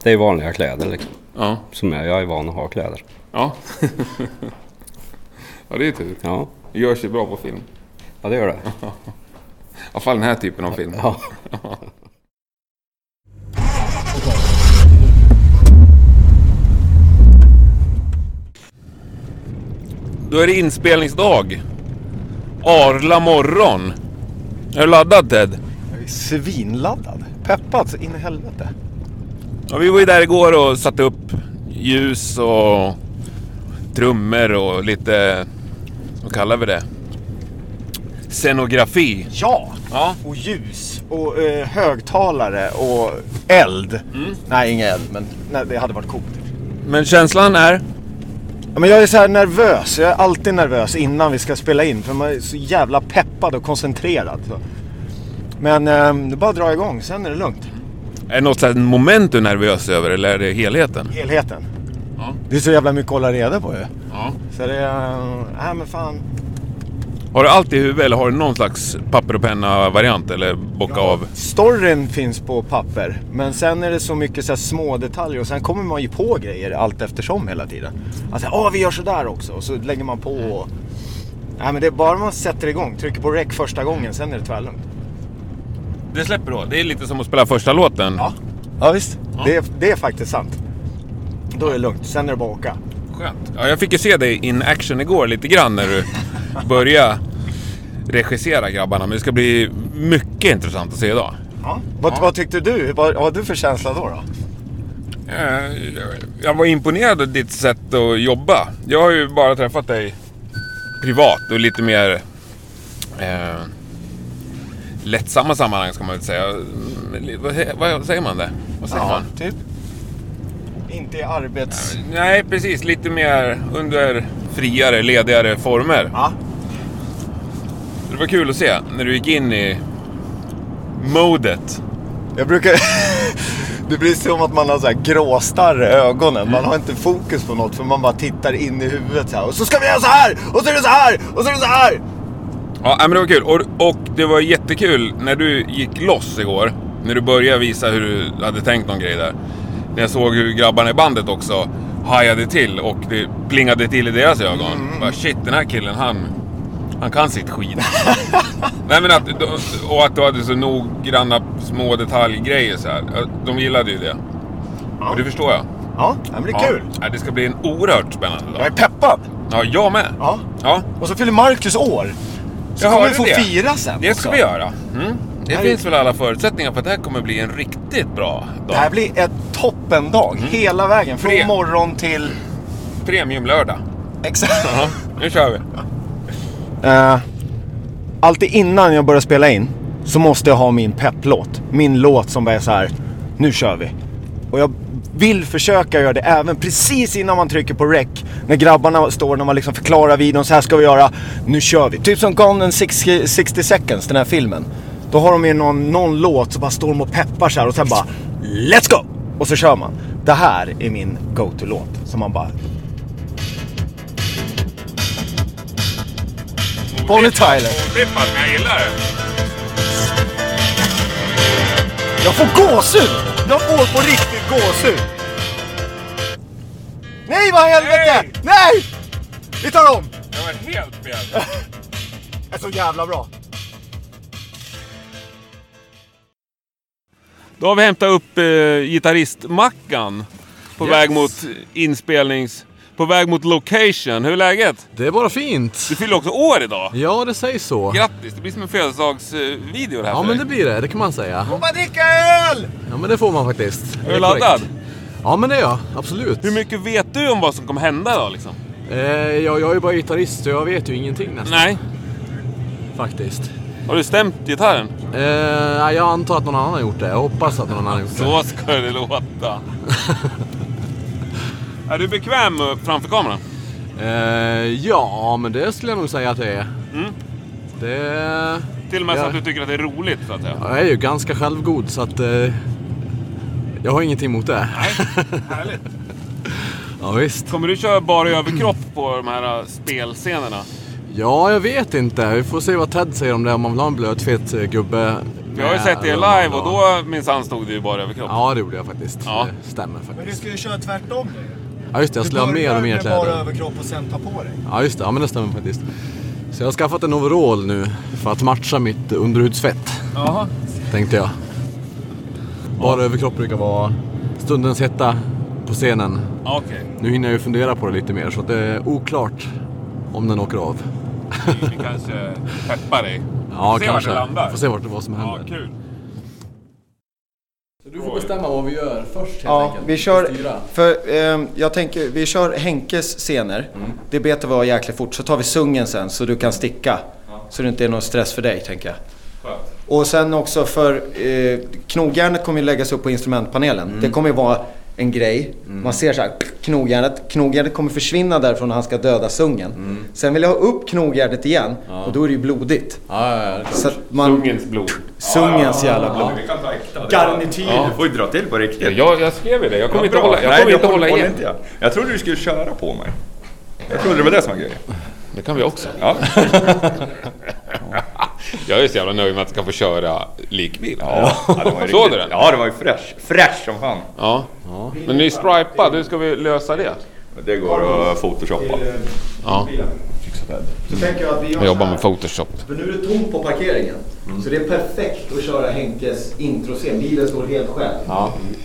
A: det är vanliga kläder liksom.
B: Ja.
A: Som jag, jag är van att ha kläder.
B: Ja. ja, det är tur.
A: Ja,
B: Det gör sig bra på film.
A: ja det gör det.
B: I alla fall den här typen av film.
A: Ja.
B: Då är det inspelningsdag. Arla morgon. Är du laddad Ted?
C: Jag är svinladdad. Peppad så in i helvete.
B: Ja, vi var ju där igår och satte upp ljus och trummor och lite... Vad kallar vi det? Scenografi.
C: Ja!
B: Ja.
C: Och ljus och eh, högtalare och eld.
B: Mm.
C: Nej, ingen eld, men nej, det hade varit coolt.
B: Men känslan är?
C: Ja, men jag är så här nervös. Jag är alltid nervös innan vi ska spela in för man är så jävla peppad och koncentrerad. Så. Men eh, det är bara att dra igång, sen är det lugnt.
B: Är det något sånt här moment du är nervös över eller är det helheten?
C: Helheten.
B: Ja.
C: Det är så jävla mycket att hålla reda på ju.
B: Ja.
C: Så det är... eh, Nej men fan.
B: Har du allt i huvudet eller har du någon slags papper och penna-variant eller bocka av?
C: Storyn finns på papper. Men sen är det så mycket så här små detaljer och sen kommer man ju på grejer allt eftersom hela tiden. Alltså, åh vi gör sådär också. Och så lägger man på och... Nej men det är bara man sätter igång. Trycker på rec första gången, sen är det tvärlugnt.
B: Det släpper då? Det är lite som att spela första låten.
C: Ja, ja visst. Det, är, det är faktiskt sant. Då är det lugnt, sen är det bara att åka.
B: Skönt. Ja, jag fick ju se dig in action igår lite grann när du började regissera grabbarna. Men det ska bli mycket intressant att se idag.
C: Ja. Vad, vad tyckte du? Vad, vad har du för känsla då? då?
B: Eh, Jag var imponerad av ditt sätt att jobba. Jag har ju bara träffat dig privat och lite mer eh, lättsamma sammanhang ska man väl säga. Mm, Vad, he- vad säger man det? Vad säger man?
C: typ. Inte i arbets...
B: Nej, precis. Lite mer under friare, ledigare former.
C: Ja.
B: Det var kul att se när du gick in i modet.
C: Jag brukar... Det blir som att man har så här gråstarr i ögonen. Man har inte fokus på något för man bara tittar in i huvudet så här. Och så ska vi göra så här! Och så är det så här! Och så är det så här!
B: Ja, men det var kul. Och, och det var jättekul när du gick loss igår. När du började visa hur du hade tänkt någon grej där. När jag såg hur grabbarna i bandet också hajade till och det plingade till i deras
C: Mm,
B: ögon. Bara, shit, den här killen han, han kan sitt skit. Nej, men att, och att du hade så noggranna små detaljgrejer så här. De gillade ju det. Och det förstår jag.
C: Ja, ja, men det är kul.
B: Ja, det ska bli en oerhört spännande
C: Jag
B: dag.
C: är peppad.
B: Ja, jag med.
C: Ja.
B: ja.
C: Och så fyller Marcus år. Så
B: Jag
C: kommer
B: hörde
C: vi få
B: det.
C: fira sen
B: Det ska
C: också.
B: vi göra. Mm. Det
C: här är-
B: finns väl alla förutsättningar för att det här kommer bli en riktigt bra
C: Det här
B: dag.
C: blir ett toppendag hela vägen. Från
B: Mm. Tre.
C: morgon till...
B: Premiumlördag.
C: Exakt.
B: Ja, nu kör vi.
C: Eh, alltid innan jag börjar spela in så måste jag ha min pepplåt. Min låt som bara är så här, nu kör vi. Och jag vill försöka göra det även precis innan man trycker på rec. När grabbarna står, när man liksom förklarar videon, så här ska vi göra, nu kör vi. Typ som Gone in 60, 60 seconds, den här filmen. Då har de ju någon, någon låt så bara står de och peppar så här och sen bara, let's go! Och så kör man. Det här är min go-to-låt. Som man bara... Bonnie Tyler.
B: Flippat, men jag gillar det.
C: Jag får gåshud! Jag får på riktigt gåshud! Nej, vad i helvete! Nej! Vi tar om!
B: Det var helt fel.
C: är så jävla bra.
B: Då har vi hämtat upp eh, gitarrist-Mackan på väg mot inspelnings... På väg mot location. Hur är läget?
F: Det är bara fint.
B: Du fyller också år idag!
F: Ja, det sägs så.
B: Grattis! Det blir som en födelsedagsvideo det här
F: Ja,
B: för
F: men det
B: dig.
F: blir det. Det kan man säga.
C: Får man dricka öl?
F: Ja, men det får man faktiskt.
B: Är du laddad?
F: Ja, men det är jag. Absolut.
B: Hur mycket vet du om vad som kommer hända idag liksom?
F: Eh, ja, jag är ju bara gitarrist så jag vet ju ingenting nästan.
B: Nej.
F: Faktiskt.
B: Har du stämt gitarren?
F: Eh, jag antar att någon annan har gjort det. Jag hoppas att någon annan har gjort det.
B: Så ska det låta. är du bekväm eh, framför kameran?
F: Eh, ja, men det skulle jag nog säga att jag är.
B: Mm.
F: Det...
B: Till och med så
F: Ja.
B: att du tycker att det är roligt så att säga.
F: Jag är ju ganska självgod så att... Eh, jag har ingenting emot det.
B: Nej, härligt.
F: Ja, visst.
B: Kommer du köra bara överkropp på de här eh, spelscenerna?
F: Ja, jag vet inte. Vi får se vad Ted säger om det. Om man vill ha en blöt, fet eh, gubbe.
B: Jag har ju
F: med-
B: sett er
F: eller om man
B: live
F: vill
B: och
F: ha-
B: då minsann stod det ju bara överkropp.
F: Ja, det gjorde jag faktiskt.
B: Ja.
F: Det stämmer
C: Men
F: faktiskt.
C: du ska ju köra tvärtom nu.
F: Ja, just det. Jag skulle ha mer och mer
C: bara
F: kläder.
C: överkropp och sen ta på dig.
F: Ja, just det. Ja, men det stämmer faktiskt. Så jag har skaffat en overall nu för att matcha mitt underhudsfett,
B: Jaha.
F: tänkte jag. Bara överkropp brukar vara stundens hetta på scenen.
B: Okej,
F: Nu hinner jag ju fundera på det lite mer, så det är oklart om den åker av.
B: vi kanske peppar dig.
F: Ja,
B: se vart
F: kanske.
B: det landar.
F: Får se vart det vad som
B: Ja,
F: händer.
B: kul.
F: du får bestämma vad vi gör först helt
C: Ja, vi kör, för ehm, jag tänker, vi kör Henkes scener.
F: Mm.
C: Det betar vi av jäkligt fort, så tar vi sungen sen så du kan sticka. Så det inte är någon stress för dig, tänker jag.
B: Skönt.
C: Och sen också för eh, knogjärnet kommer ju läggas upp på instrumentpanelen.
F: Mm.
C: Det kommer ju vara en grej. Man ser så här, knogjärnet. Knogjärnet kommer försvinna därifrån när han ska döda sungen.
F: Mm.
C: Sen vill jag ha upp knogjärnet igen och då är det ju blodigt.
F: Ja, ja, ja. det-
C: Så att man...
G: Kungens blod.
C: Sungens jävla blod.
G: Vi kan ta äkta.
C: Garnityr.
G: Ja, Du får ju dra till på riktigt.
B: Jag, jag skrev ju det. Jag kommer
G: Vad
B: inte
G: bra.
B: hålla, jag
G: Nej,
B: kommer
G: det
B: inte hålla
G: håller
B: igen.
G: inte jag. Jag trodde du skulle köra på mig. Jag trodde det var det som var grejen.
B: Det kan vi också.
G: Ja.
B: Jag är så jävla nöjd med att jag kan få köra likbil.
G: Ja, det var ju
B: Såg
G: riktigt-
B: du den?
G: Ja, det var ju fräsch. Fräsch som fan.
B: Ja. Men ni är stripad, hur ska vi lösa det?
G: Det går att photoshoppa.
B: Ja,
C: Så tänker jag att vi gör
B: jag jobbar
C: så här.
B: med Photoshop.
C: För nu är det tomt på parkeringen. Så det är perfekt att köra Henkes introscen. Bilen står helt själv.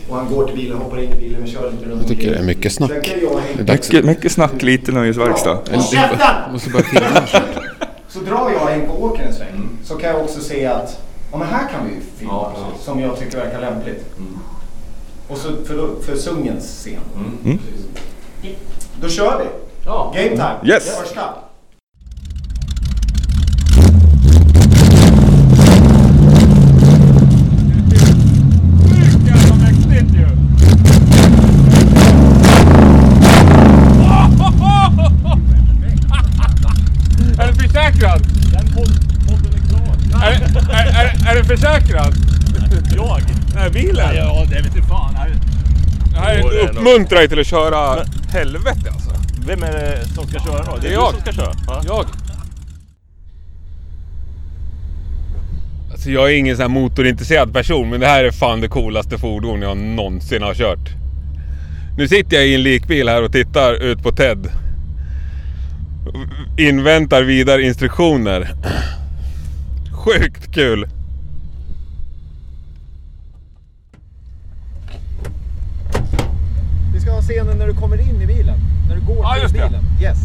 C: Och han går till bilen, hoppar in i bilen och kör lite runt Jag
B: tycker det är mycket snack.
C: Sen kan jag och Henke...
G: Mycket, mycket snack, lite nöjesverkstad.
C: Håll käften!
F: Måste börja filma.
C: Så drar jag Henke och åker en sväng. Så kan jag också se att, ja men här kan vi ju filma. som jag tycker verkar lämpligt. Och så för, för sungens scen.
B: Mm.
C: Då kör vi!
F: Ja.
C: Game time!
G: Yes.
C: Första!
B: Är du försäkrad? Den podden är klar. Är, är, är, är du försäkrad? Jag? Nej, bilen? Ja, det vete fan. Det här
H: Jo, det är nog-
B: uppmuntrar dig till att köra helvete alltså.
H: Vem är det som ska köra då? Det
B: är
H: är du
B: jag.
H: som ska köra? va?
B: Jag? Alltså jag är ingen sån här motorintresserad person men det här är fan det coolaste fordon jag någonsin har kört. Nu sitter jag i en likbil här och tittar ut på Ted. Inväntar vidare instruktioner. Sjukt kul!
C: Vi ska ha scenen när du kommer in i bilen. När du går
B: Ja,
C: till
B: just det.
C: bilen. Yes.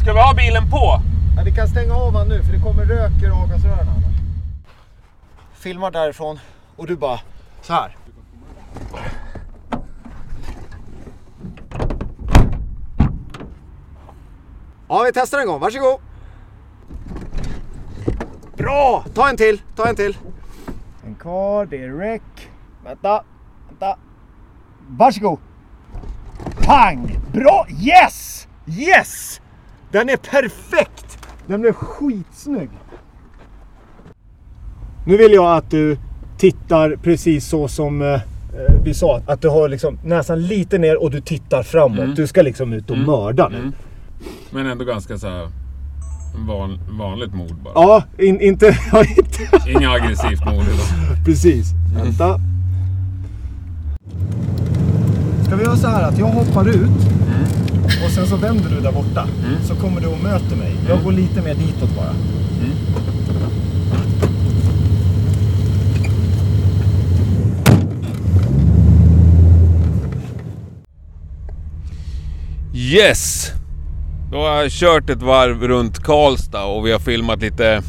B: Ska vi ha bilen på?
C: Ja, vi kan stänga av han nu för det kommer rök ur avgasrören annars. Filmar därifrån och du bara så här. Ja, vi testar en gång. Varsågod. Bra! Ta en till, ta en till. En kvar, det är räck. Vänta, vänta. Varsågod. Pang! Bra! Yes! Yes! Den är perfekt! Den blev skitsnygg. Nu vill jag att du tittar precis så som eh, eh, vi sa. Att du har liksom näsan lite ner och du tittar framåt. Du ska liksom ut och mörda nu.
B: Men ändå ganska så här van, vanligt mord bara.
C: Ja, in, inte, ja, inte...
B: Inga aggressivt mord idag.
C: Precis. Vänta. Ska vi göra så här att jag hoppar ut och sen så vänder du där borta. Så kommer du och möter mig. Jag går lite mer ditåt bara.
B: Yes! Då har jag kört ett varv runt Karlstad och vi har filmat lite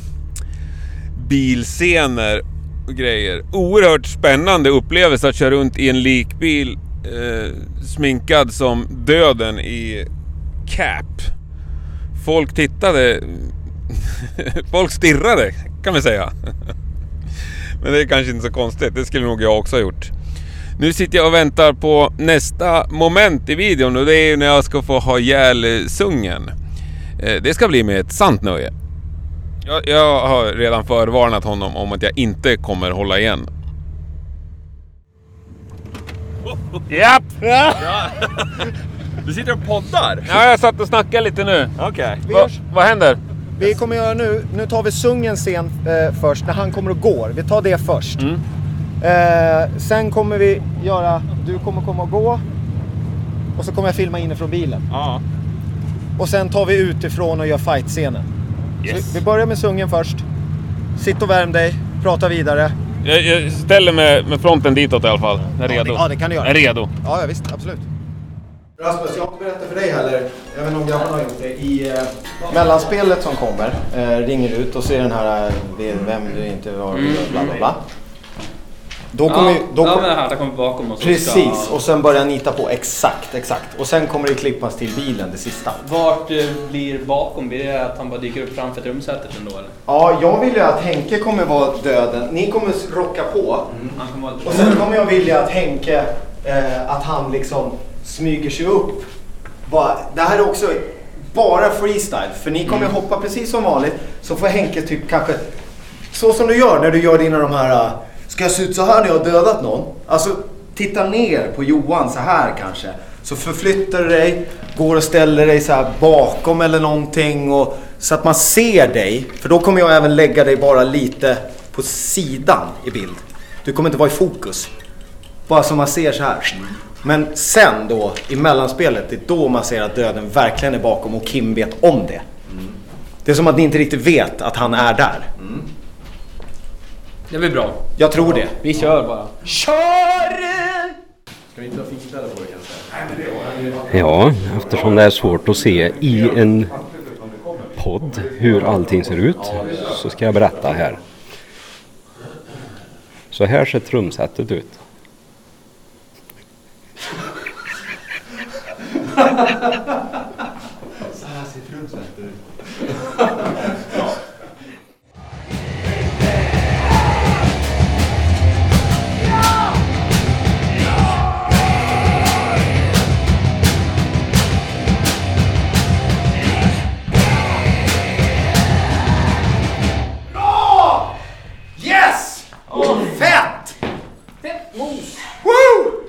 B: bilscener och grejer. Oerhört spännande upplevelse att köra runt i en likbil eh, sminkad som döden i cap. Folk tittade... Folk stirrade kan vi säga. Men det är kanske inte så konstigt, det skulle nog jag också ha gjort. Nu sitter jag och väntar på nästa moment i videon och det är ju när jag ska få ha ihjäl eh, sungen. Eh, Det ska bli med ett sant nöje. Jag, jag har redan förvarnat honom om att jag inte kommer hålla igen. Japp!
G: Du sitter och poddar.
B: Ja, jag satt och snackade lite nu.
G: Okej.
B: Va, vad händer?
C: Vi kommer göra nu, nu tar vi sungen scen eh, först, när han kommer och går. Vi tar det först. Eh, sen kommer vi göra, du kommer komma och gå. Och så kommer jag filma inifrån bilen.
G: Ja.
C: Och sen tar vi utifrån och gör fight-scenen. Så vi- vi börjar med sungen först. Sitt och värm dig, prata vidare.
B: Jag, jag ställer mig med fronten ditåt i alla fall. Jag är
C: Ja, det-
B: redo.
C: ja, det kan du göra.
B: Jag är redo.
C: Ja, ja visst, absolut. Rasmus, jag har inte berättat för dig heller, jag vet inte om grabbarna har gjort det, i eh, mellanspelet som kommer eh, ringer ut och ser den här eh, det är vem du inte var, bla bla bla. Då kommer ju- då
I: Mm. ja,
C: kom-
I: men det här, där kommer bakom oss. och
C: Precis,
I: Ska,
C: och sen börjar jag nita på exakt, exakt. Och sen kommer det klippas till bilen, det sista.
I: vart eh, blir bakom? Blir det att han bara dyker upp framför trumsetet ändå eller?
C: Ja, jag vill ju att Henke kommer vara döden. Ni kommer rocka på.
I: Mm. Han kommer vara lite...
C: Och sen kommer jag vilja att Henke, eh, att han liksom smyger sig upp. Bara, det här är också bara freestyle, för ni kommer
I: Mm.
C: hoppa precis som vanligt. Så får Henke typ kanske, så som du gör när du gör dina de här, eh, ska jag se ut så här när jag har dödat någon? Alltså, titta ner på Johan så här kanske. Så förflyttar du dig, går och ställer dig så här bakom eller någonting. Och, så att man ser dig, för då kommer jag även lägga dig bara lite på sidan i bild. Du kommer inte vara i fokus. Bara som man ser så här. Men sen då, i mellanspelet, det är då man ser att döden verkligen är bakom och Kim vet om det. Det är som att ni inte riktigt vet att han är där.
I: Det blir bra.
C: Jag tror det.
I: Vi kör bara.
A: Ja, eftersom det är svårt att se i en podd hur allting ser ut så ska jag berätta här. Så här ser trumsetet ut.
C: Yes! Fett! Fett mos! Woo!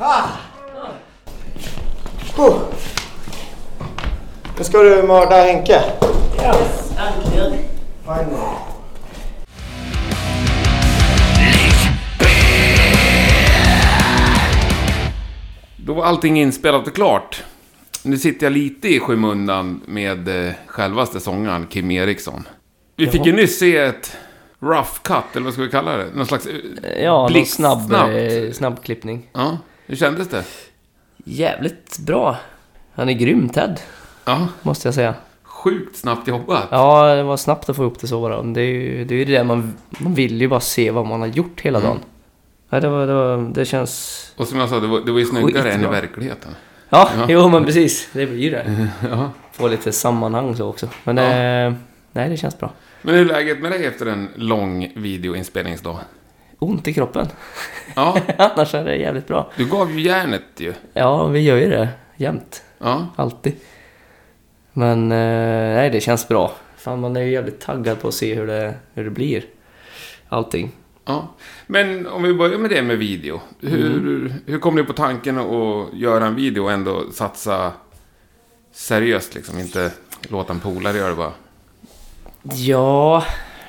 C: Ah. Oh. Nu ska du mörda Henke.
D: Äntligen.
C: Finally.
B: Då var allting inspelat och klart. Nu sitter jag lite i skymundan med eh, självaste sångaren Kim Eriksson. Vi fick ju nyss se ett rough cut, eller vad ska vi kalla det? Någon slags... eh,
I: Ja,
B: blixt- snabbt.
I: snabb eh, klippning.
B: Ja, hur kändes det?
I: Jävligt bra. Han är grym Ted,
B: Ja,
I: måste jag säga.
B: sjukt snabbt jobbat.
I: Ja, det var snabbt att få ihop det så bara. Det är ju det, är ju det där man, man vill ju bara se vad man har gjort hela dagen. Ja, det, var, det, var, det känns...
B: Och som jag sa, det var, det var ju snyggare än i
I: Skitbra.
B: verkligheten.
I: Ja, jo men precis. Det blir ju det. Få lite sammanhang så också. Men eh, nej, det känns bra.
B: Men hur är läget med dig efter en lång videoinspelningsdag?
I: Ont i kroppen.
B: Ja,
I: Annars är det jävligt bra.
B: du gav ju järnet ju.
I: Ja, vi gör ju det jämt.
B: Ja,
I: Alltid. Men eh, nej, det känns bra. Fan, man är ju jävligt taggad på att se hur det, hur det blir. Allting.
B: ja. Men om vi börjar med det med video. Hur,
I: Mm.
B: hur kom du på tanken att göra en video och ändå satsa seriöst liksom? Inte låta en polare göra det bara.
I: Ja,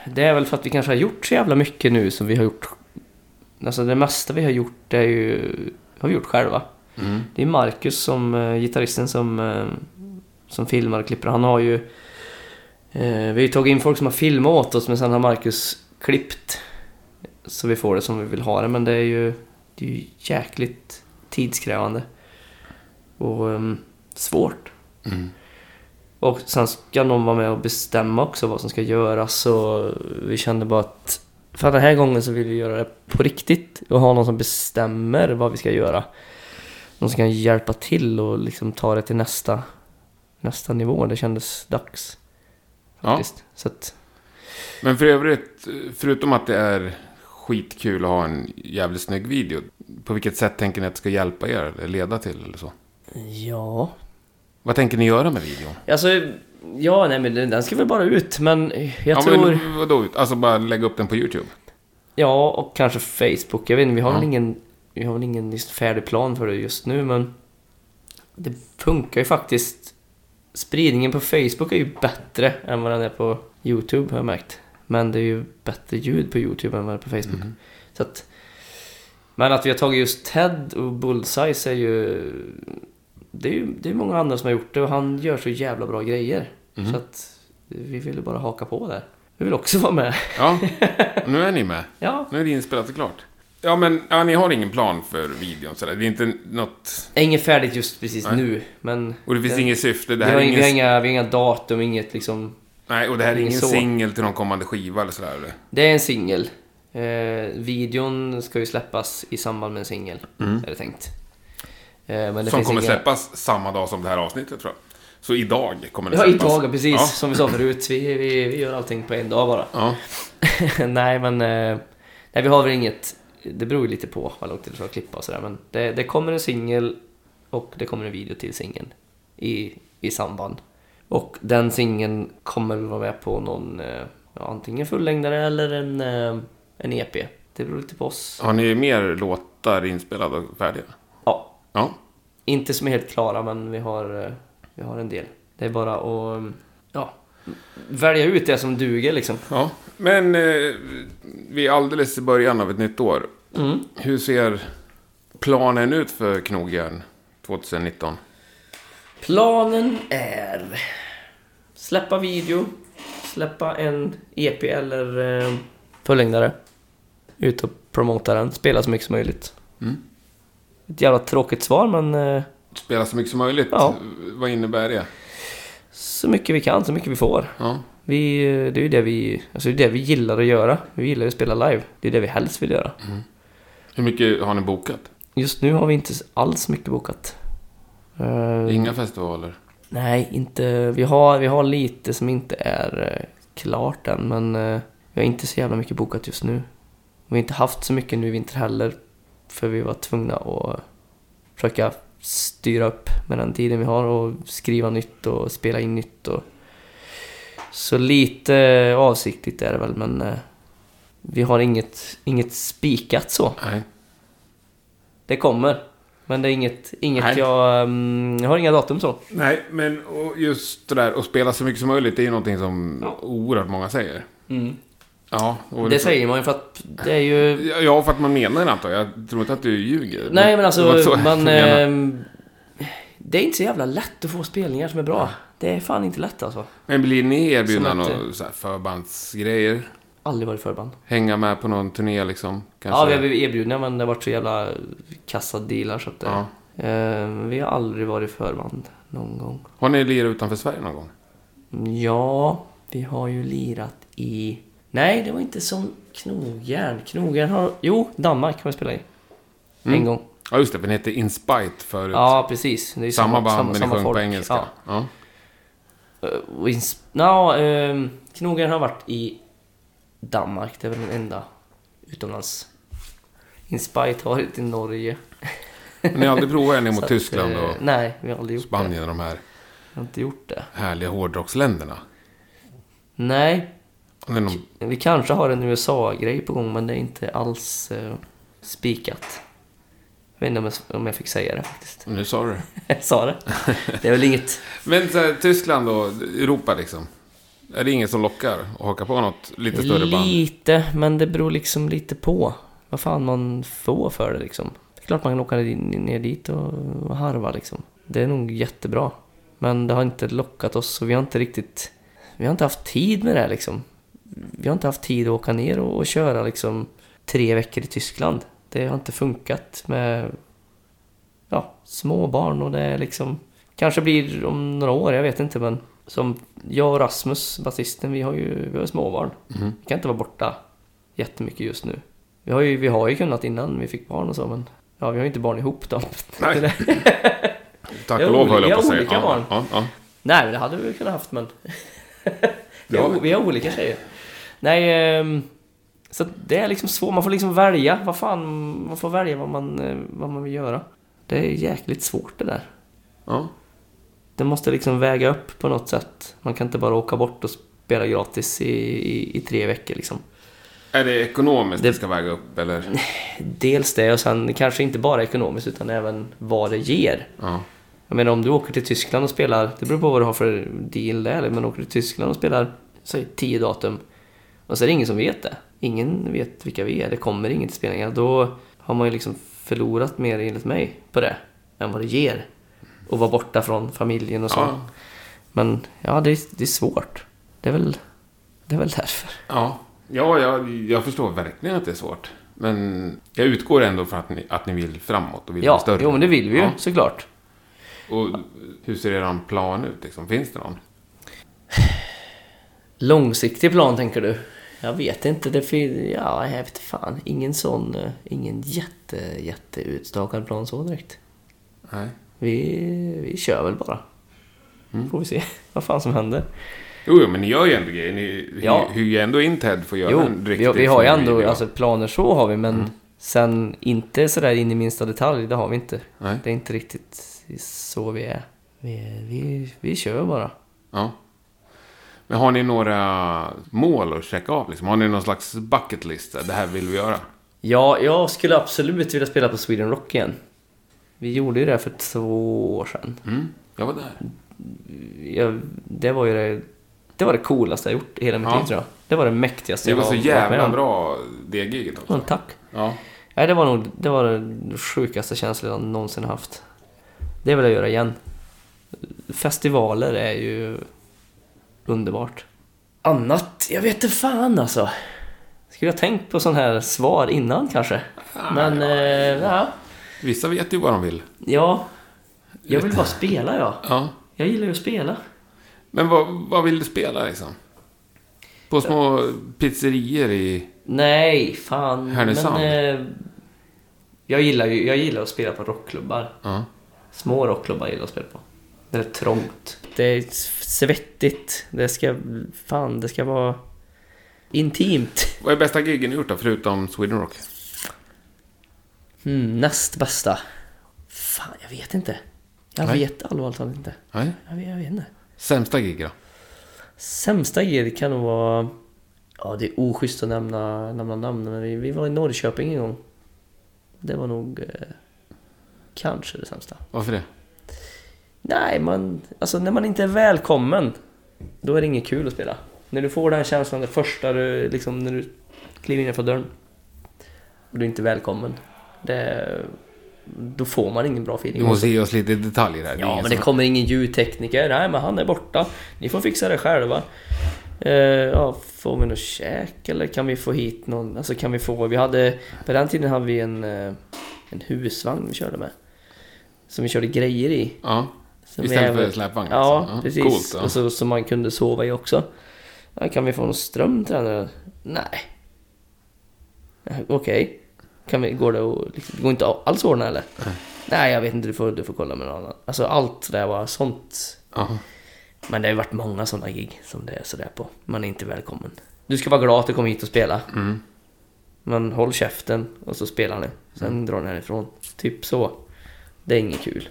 I: det är väl för att vi kanske har gjort så jävla mycket nu som vi har gjort. Alltså det mesta vi har gjort är ju, har vi gjort själva. Det är Marcus, som, eh, gitarristen, som, eh, som filmar och klipper. Han har ju... Eh, vi har ju tagit in folk som har filmat åt oss, men sen har Marcus klippt. Så vi får det som vi vill ha det, men det är ju, det är ju jäkligt tidskrävande. Och ehm, svårt. Och sen ska någon vara med och bestämma också vad som ska göras. Så vi kände bara att för den här gången så vill vi göra det på riktigt och ha någon som bestämmer vad vi ska göra. Någon som kan hjälpa till och liksom ta det till nästa, nästa nivå. Det kändes dags.
B: Ja.
I: Faktiskt. Så att,
B: Men för övrigt, förutom att det är skitkul att ha en jävligt snygg video. På vilket sätt tänker ni att det ska hjälpa er eller leda till eller så?
I: ja.
B: Vad tänker ni göra med videon?
I: Alltså, ja, nej men den den ska väl bara ut. Men jag
B: ja,
I: tror...
B: men vadå? Alltså bara lägga upp den på YouTube?
I: Ja, och kanske Facebook. Jag vet inte, vi har väl ingen, vi har väl ingen just färdig plan för det just nu, men det funkar ju faktiskt. Spridningen på Facebook är ju bättre än vad den är på YouTube, har jag märkt. Men det är ju bättre ljud på YouTube än vad det är på Facebook. Så att, men att vi har tagit just Ted och Bullsize är ju... Det är ju det är många andra som har gjort det och han gör så jävla bra grejer. Så att vi ville bara haka på där. Vi vill också vara med.
B: Ja, nu är ni med.
I: Ja,
B: Nu är det inspelat och klart. Ja, men ja, ni har ingen plan för videon sådär. Det är inte något...
I: Det är Inget färdigt just precis
B: Nej.
I: nu, men...
B: Och det finns
I: Det-
B: inget syfte. Det
I: vi,
B: här
I: har,
B: är
I: ing- vi, har
B: ingen...
I: inga, vi har inga datum, inget liksom...
B: Nej, och det här är
I: ingen
B: ingen
I: så.
B: singel till någon kommande skiva eller sådär. Eller?
I: Det är en singel. Eh, videon ska ju släppas i samband med en singel, är det tänkt. Eh, men det
B: Mm. Som
I: finns
B: kommer
I: inga...
B: släppas samma dag som det här avsnittet tror jag. Så idag kommer det
I: Ja,
B: släppas.
I: idag, precis.
B: Ja.
I: Som vi sa förut. Vi, vi, vi gör allting på en dag bara.
B: Ja.
I: nej, men... Eh, nej, vi har väl inget... Det beror ju lite på vad långt det tar att klippa och sådär, men det, det kommer en singel och det kommer en video till singeln i, i samband. Och den singeln kommer väl vara med på någon, eh, ja, antingen fullängdare eller en, eh, en EP. Det beror lite på oss.
B: Har ni mer låtar inspelade och färdiga?
I: Ja,
B: Ja.
I: inte som är helt klara, men vi har, eh, vi har en del. Det är bara att mm, ja, välja ut det som duger liksom.
B: ja. Men eh, vi är alldeles i början av ett nytt år.
I: Mm.
B: Hur ser planen ut för Knogjärn 2019?
I: Planen är släppa video, släppa en EP eller eh, fullängdare. Ut och promota den, spela så mycket som möjligt. Ett jävla tråkigt svar men eh,
B: Spela så mycket som möjligt.
I: Ja.
B: Vad innebär det?
I: så mycket vi kan, så mycket vi får.
B: Ja.
I: Vi, eh, det är ju det vi, alltså det, är det vi gillar att göra. Vi gillar ju att spela live. Det är det vi helst vill göra.
B: Hur mycket har ni bokat?
I: Just nu har vi inte alls mycket bokat. Eh,
B: Inga festivaler?
I: Nej, inte... Vi har, vi har lite som inte är eh, klart än, men eh, vi har inte så jävla mycket bokat just nu. Vi har inte haft så mycket nu i vinter heller, för vi var tvungna att försöka styra upp med den tiden vi har och skriva nytt och spela in nytt. Och... Så lite avsiktligt är det väl, men eh, vi har inget, inget spikat så.
B: Nej.
I: Det kommer. Men det är inget, inget
B: Nej.
I: jag... mm, jag har inga datum så.
B: Nej, men och just det där att spela så mycket som möjligt, det är ju någonting som oerhört många säger. Ja, och
I: Mm. Det säger man ju för att det är ju...
B: Ja, för att man menar det antar jag. Jag tror inte att du ljuger. Det
I: Nej men
B: var
I: alltså,
B: så jag
I: man...
B: menade.
I: ehm, Det är inte så jävla lätt att få spelningar som är bra. Det är fan inte lätt alltså.
B: Men blir ni erbjudna
I: som att-
B: några så här förbandsgrejer?
I: Aldrig varit förband.
B: Hänga med på någon turné liksom? Kanske?
I: Ja, vi har blivit erbjudna men det har varit så jävla kassa dealar så att det...
B: Ja.
I: Ehm, Vi har aldrig varit förband någon gång.
B: Har ni lirat utanför Sverige någon gång?
I: Ja, vi har ju lirat i... Nej, det var inte som Knogjärn. Knogjärn har... Jo, Danmark har vi spelat i. En
B: Mm.
I: gång.
B: Ja, just det. För ni hette Inspite förut.
I: Ja, precis. Det är ju
B: samma band, men ni
I: samma
B: sjöng på
I: folk.
B: engelska.
I: Ja.
B: Ja.
I: Eh, och ins- Nja, ehm, Knogjärn har varit i Danmark. Det är väl den enda utomlands. Inspite har varit i Norge.
B: Men ni har aldrig provat än
I: Så
B: mot
I: att,
B: Tyskland
I: eh,
B: och
I: Nej, vi har aldrig gjort det.
B: Spanien och de här
I: Vi har inte gjort det.
B: härliga hårdrocksländerna?
I: Nej,
B: Det är någon...
I: vi kanske har en USA-grej på gång men det är inte alls eh, spikat. Jag vet inte om jag, om jag fick säga det faktiskt.
B: Nu sa du det.
I: Jag sa det. Det är väl inget...
B: Men så här, Tyskland och Europa liksom. Är det ingen som lockar att haka på något lite större band?
I: Lite, men det beror liksom lite på vad fan man får för det liksom. Det klart man kan åka ner dit och harva liksom. Det är nog jättebra. Men det har inte lockat oss och vi har inte riktigt... Vi har inte haft tid med det här, liksom. Vi har inte haft tid att åka ner och, och köra liksom tre veckor i Tyskland. Det har inte funkat med ja, små barn och det är liksom... Kanske blir om några år, jag vet inte men... Som jag och Rasmus, basisten, vi har ju vi har småbarn.
J: Mhm.
I: Vi kan inte vara borta jättemycket just nu. Vi har, ju, vi har ju kunnat innan vi fick barn och så men... Ja, vi har ju inte barn ihop då.
J: Nej.
I: Jag
J: Tack och
I: har
J: lov höll jag
I: olika-
J: på att säga.
I: olika
J: ja,
I: barn.
J: ja, ja.
I: Nej, men det hade vi kunnat haft men... vi,
J: Ja.
I: har, vi har olika tjejer. Nej, ehm, så att det är liksom svårt. Man får liksom välja. Vad fan, man får välja vad man, eh, vad man vill göra. Det är jäkligt svårt det där.
J: Ja.
I: Det måste liksom väga upp på något sätt. Man kan inte bara åka bort och spela gratis i, i, i tre veckor liksom.
J: Är det ekonomiskt det
I: Det-
J: ska väga upp eller?
I: Dels det och sen kanske inte bara ekonomiskt utan även vad det ger.
J: Ja.
I: Jag menar om du åker till Tyskland och spelar, det beror på vad du har för deal där, men åker du till Tyskland och spelar, säg 10 datum och så är det ingen som vet det. Ingen vet vilka vi är, det kommer ingen till spelningar. Då har man ju liksom förlorat mer enligt mig på det än vad det ger. Och vara borta från familjen och så.
J: Ja.
I: Men ja, det är, det är svårt. Det är väl, det är väl därför.
J: Ja, ja jag, jag förstår verkligen att det är svårt. Men jag utgår ändå från att ni, att ni vill framåt och vill bli
I: Ja,
J: större.
I: jo men det vill vi ju
J: Ja.
I: såklart.
J: Och hur ser er plan ut liksom? Finns det någon?
I: Långsiktig plan tänker du? Jag vet inte. Det fin- ja, jag vet fan. Ingen sån, eh, ingen jätte, jätte utstakad plan så direkt.
J: Nej.
I: Vi, vi kör väl bara. Får vi se vad fan som händer.
J: Jo, jo men ni gör ju ändå grejer. Ni
I: Ja.
J: ja. hyr ju ändå in Ted för att göra
I: Jo,
J: en
I: vi,
J: riktig
I: vi har ju ändå
J: familjevideo.
I: alltså, planer så har vi, men sen inte sådär in i minsta detalj, det har vi inte.
J: Nej.
I: Det är inte riktigt så vi är. Vi, vi, vi kör bara.
J: Ja. Men har ni några mål att checka av liksom? Har ni någon slags bucket list? där? Det här vill vi göra.
I: Ja, jag skulle absolut vilja spela på Sweden Rock igen. Vi gjorde ju det för två år sedan.
J: Mm. Jag var där.
I: jag, det var ju det, det var det coolaste jag gjort i hela mitt
J: Ja.
I: liv tror jag. Det var det mäktigaste
J: Det var
I: jag
J: så
I: har varit med
J: jävla
I: om.
J: bra, det giget också.
I: Ja, tack.
J: Ja.
I: Nej, det var nog det var den sjukaste känslan jag någonsin haft. Det vill jag göra igen. Festivaler är ju underbart. Annat? Jag vet inte fan alltså. Skulle jag tänkt på sån här svar innan kanske? Men, eh, ja.
J: Vissa vet ju vad de vill.
I: ja. Jag vill bara spela ja.
J: Ja.
I: Jag gillar ju att spela.
J: Men vad, vad vill du spela liksom? På små pizzerier i...
I: Nej, fan.
J: Härnösand.
I: Men, eh, jag, gillar ju, jag gillar att spela på rockklubbar.
J: Ja.
I: Små rockklubbar gillar jag att spela på. Det är trångt. Det är svettigt. Det ska... Fan, det ska vara intimt.
J: Vad är bästa gigen ni gjort då, förutom Sweden Rock?
I: Mm, näst bästa. Fan, jag vet inte. Jag
J: Nej.
I: vet allvarligt talat inte.
J: Nej.
I: Jag vet, jag vet inte.
J: Sämsta gig då?
I: Sämsta gig kan nog vara... Ja, det är oschysst att nämna, nämna namn, men vi, vi var i Norrköping en gång. Det var nog eh, kanske det sämsta.
J: Varför det?
I: Nej, man, alltså när man inte är välkommen, då är det inget kul att spela. När du får den känslan det första du, liksom när du kliver innanför dörren och du är inte välkommen. Det, då får man ingen bra feeling.
J: Du måste ge oss lite detaljer här. är
I: Ja,
J: ingen
I: men det
J: som-
I: kommer ingen ljudtekniker. Nej, men han är borta. Ni får fixa det själva. Eh, ja, får vi något käk eller kan vi få hit någon? Alltså kan vi få... Vi hade... På den tiden hade vi en, eh, en husvagn vi körde med. Som vi körde grejer i.
J: Ja.
I: Som
J: Istället
I: är-
J: för släpvagn,
I: Ja,
J: alltså. Ja,
I: precis.
J: coolt, ja.
I: Och så, som man kunde sova i också. Ja, kan vi få någon ström till den? här? Nej. Eh, Okej. Kan vi, går det att... Liksom, det går inte alls att ordna eller? Nej, jag vet inte. Du får, du får kolla med någon annan. Alltså allt det där var sånt.
J: Ja.
I: Men det har ju varit många sådana gig som det är sådär på. Man är inte välkommen. Du ska vara glad att du kom hit och spela. Men håll käften och så spelar ni. Sen drar ni härifrån. Typ så. Det är inget kul.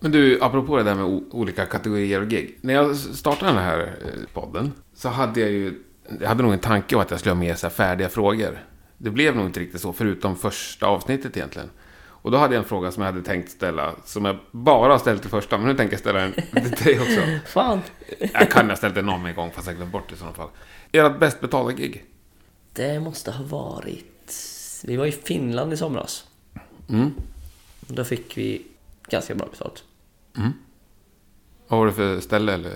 J: Men du, apropå det där med o- olika kategorier och gig. När jag startade den här eh, podden så hade jag ju... Jag hade nog en tanke om att jag skulle ha med så här färdiga frågor. Det blev nog inte riktigt så, förutom första avsnittet egentligen. Och då hade jag en fråga som jag hade tänkt ställa, som jag bara har ställt i första, men nu tänker jag ställa den till dig också.
I: Fan.
J: Jag kan ha ställt den någon gång, fast jag glömt bort det i sådana fall. Ert bäst betalda gig?
I: Det måste ha varit... Vi var i Finland i somras.
J: Mm.
I: Då fick vi ganska bra betalt.
J: Mm. Vad var det för ställe eller?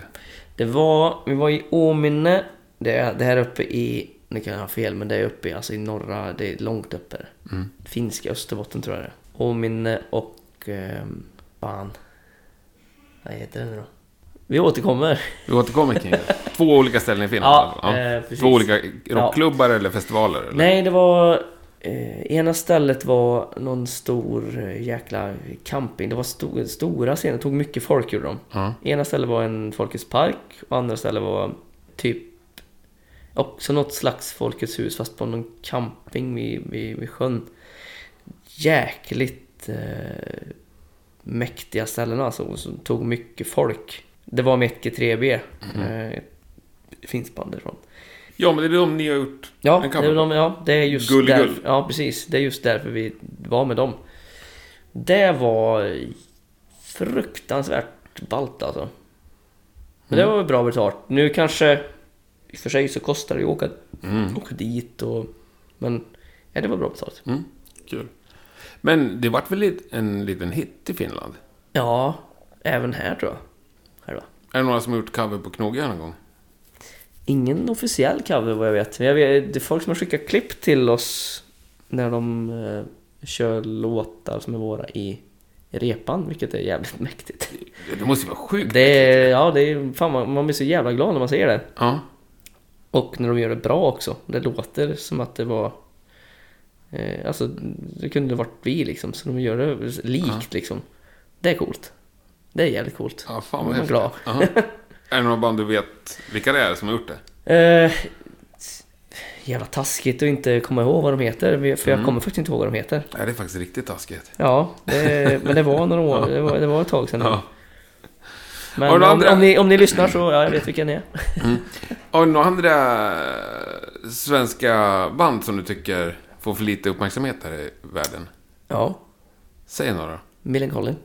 I: Det var, vi var i Åminne. Det, är- det här uppe i, nu kan jag ha fel, men det är uppe i, alltså i norra, det är långt uppe.
J: Mm.
I: Finska Österbotten tror jag det är. Åminne och, eh, fan. Vad heter det nu då? Vi återkommer.
J: Vi återkommer kring det. Två olika ställen i Finland.
I: Ja,
J: alltså.
I: eh, precis.
J: Två olika rockklubbar eller festivaler? Eller?
I: Nej, det var... Eh, ena stället var någon stor eh, jäkla camping. Det var sto- stora scener, tog mycket folk ur dem.
J: Ja.
I: Ena stället var en Folkets park och andra stället var typ också något slags Folkets hus fast på någon camping vid, vid, vid sjön. Jäkligt eh, mäktiga ställen alltså, och som tog mycket folk. Det var Mekke 3B,
J: Mm-hmm.
I: eh, ett finskt band därifrån.
J: ja, men det är de ni har gjort.
I: Ja,
J: En
I: det
J: cover.
I: är, de, ja, det är just
J: Gull,
I: därför,
J: gull.
I: Ja, precis. Det är just därför vi var med dem. Det var fruktansvärt ballt alltså. Men
J: Mm.
I: det var väl bra betalt. Nu kanske... I och för sig så kostar det ju att åka, åka dit och... Men... Ja, det var bra betalt.
J: Mm. Kul. Men det vart väl lit- en liten hit i Finland?
I: Ja, även här tror jag. Själva.
J: Är det några som har gjort cover på knogjärn någon gång?
I: Ingen officiell cover vad jag vet. Men jag vet, det är folk som har skickat klipp till oss när de eh, kör låtar som är våra i i repan, vilket är jävligt mäktigt.
J: Det måste ju vara sjukt.
I: Det är, ja, det är, fan man, man blir så jävla glad när man ser det.
J: Ja.
I: Och när de gör det bra också. Det låter som att det var... Eh, alltså, det kunde varit vi liksom. Så de gör det likt liksom. Det är coolt. Det är jävligt coolt.
J: ja, fan vad
I: Man är
J: häftigt.
I: glad.
J: Ja. Är det några band du vet vilka det är som har gjort det?
I: Eh, jävla taskigt att inte komma ihåg vad de heter. För jag kommer faktiskt inte ihåg vad de heter.
J: Nej, det är faktiskt riktigt taskigt.
I: Ja, det, men det var några år. Det var, det var ett tag sedan. nu.
J: Ja. Har
I: Men
J: du
I: om,
J: andra-
I: om, ni, om ni lyssnar så, ja, jag vet vilka ni är.
J: Har du några andra svenska band som du tycker får för lite uppmärksamhet här i världen?
I: Ja,
J: Säg några.
I: Millencolin.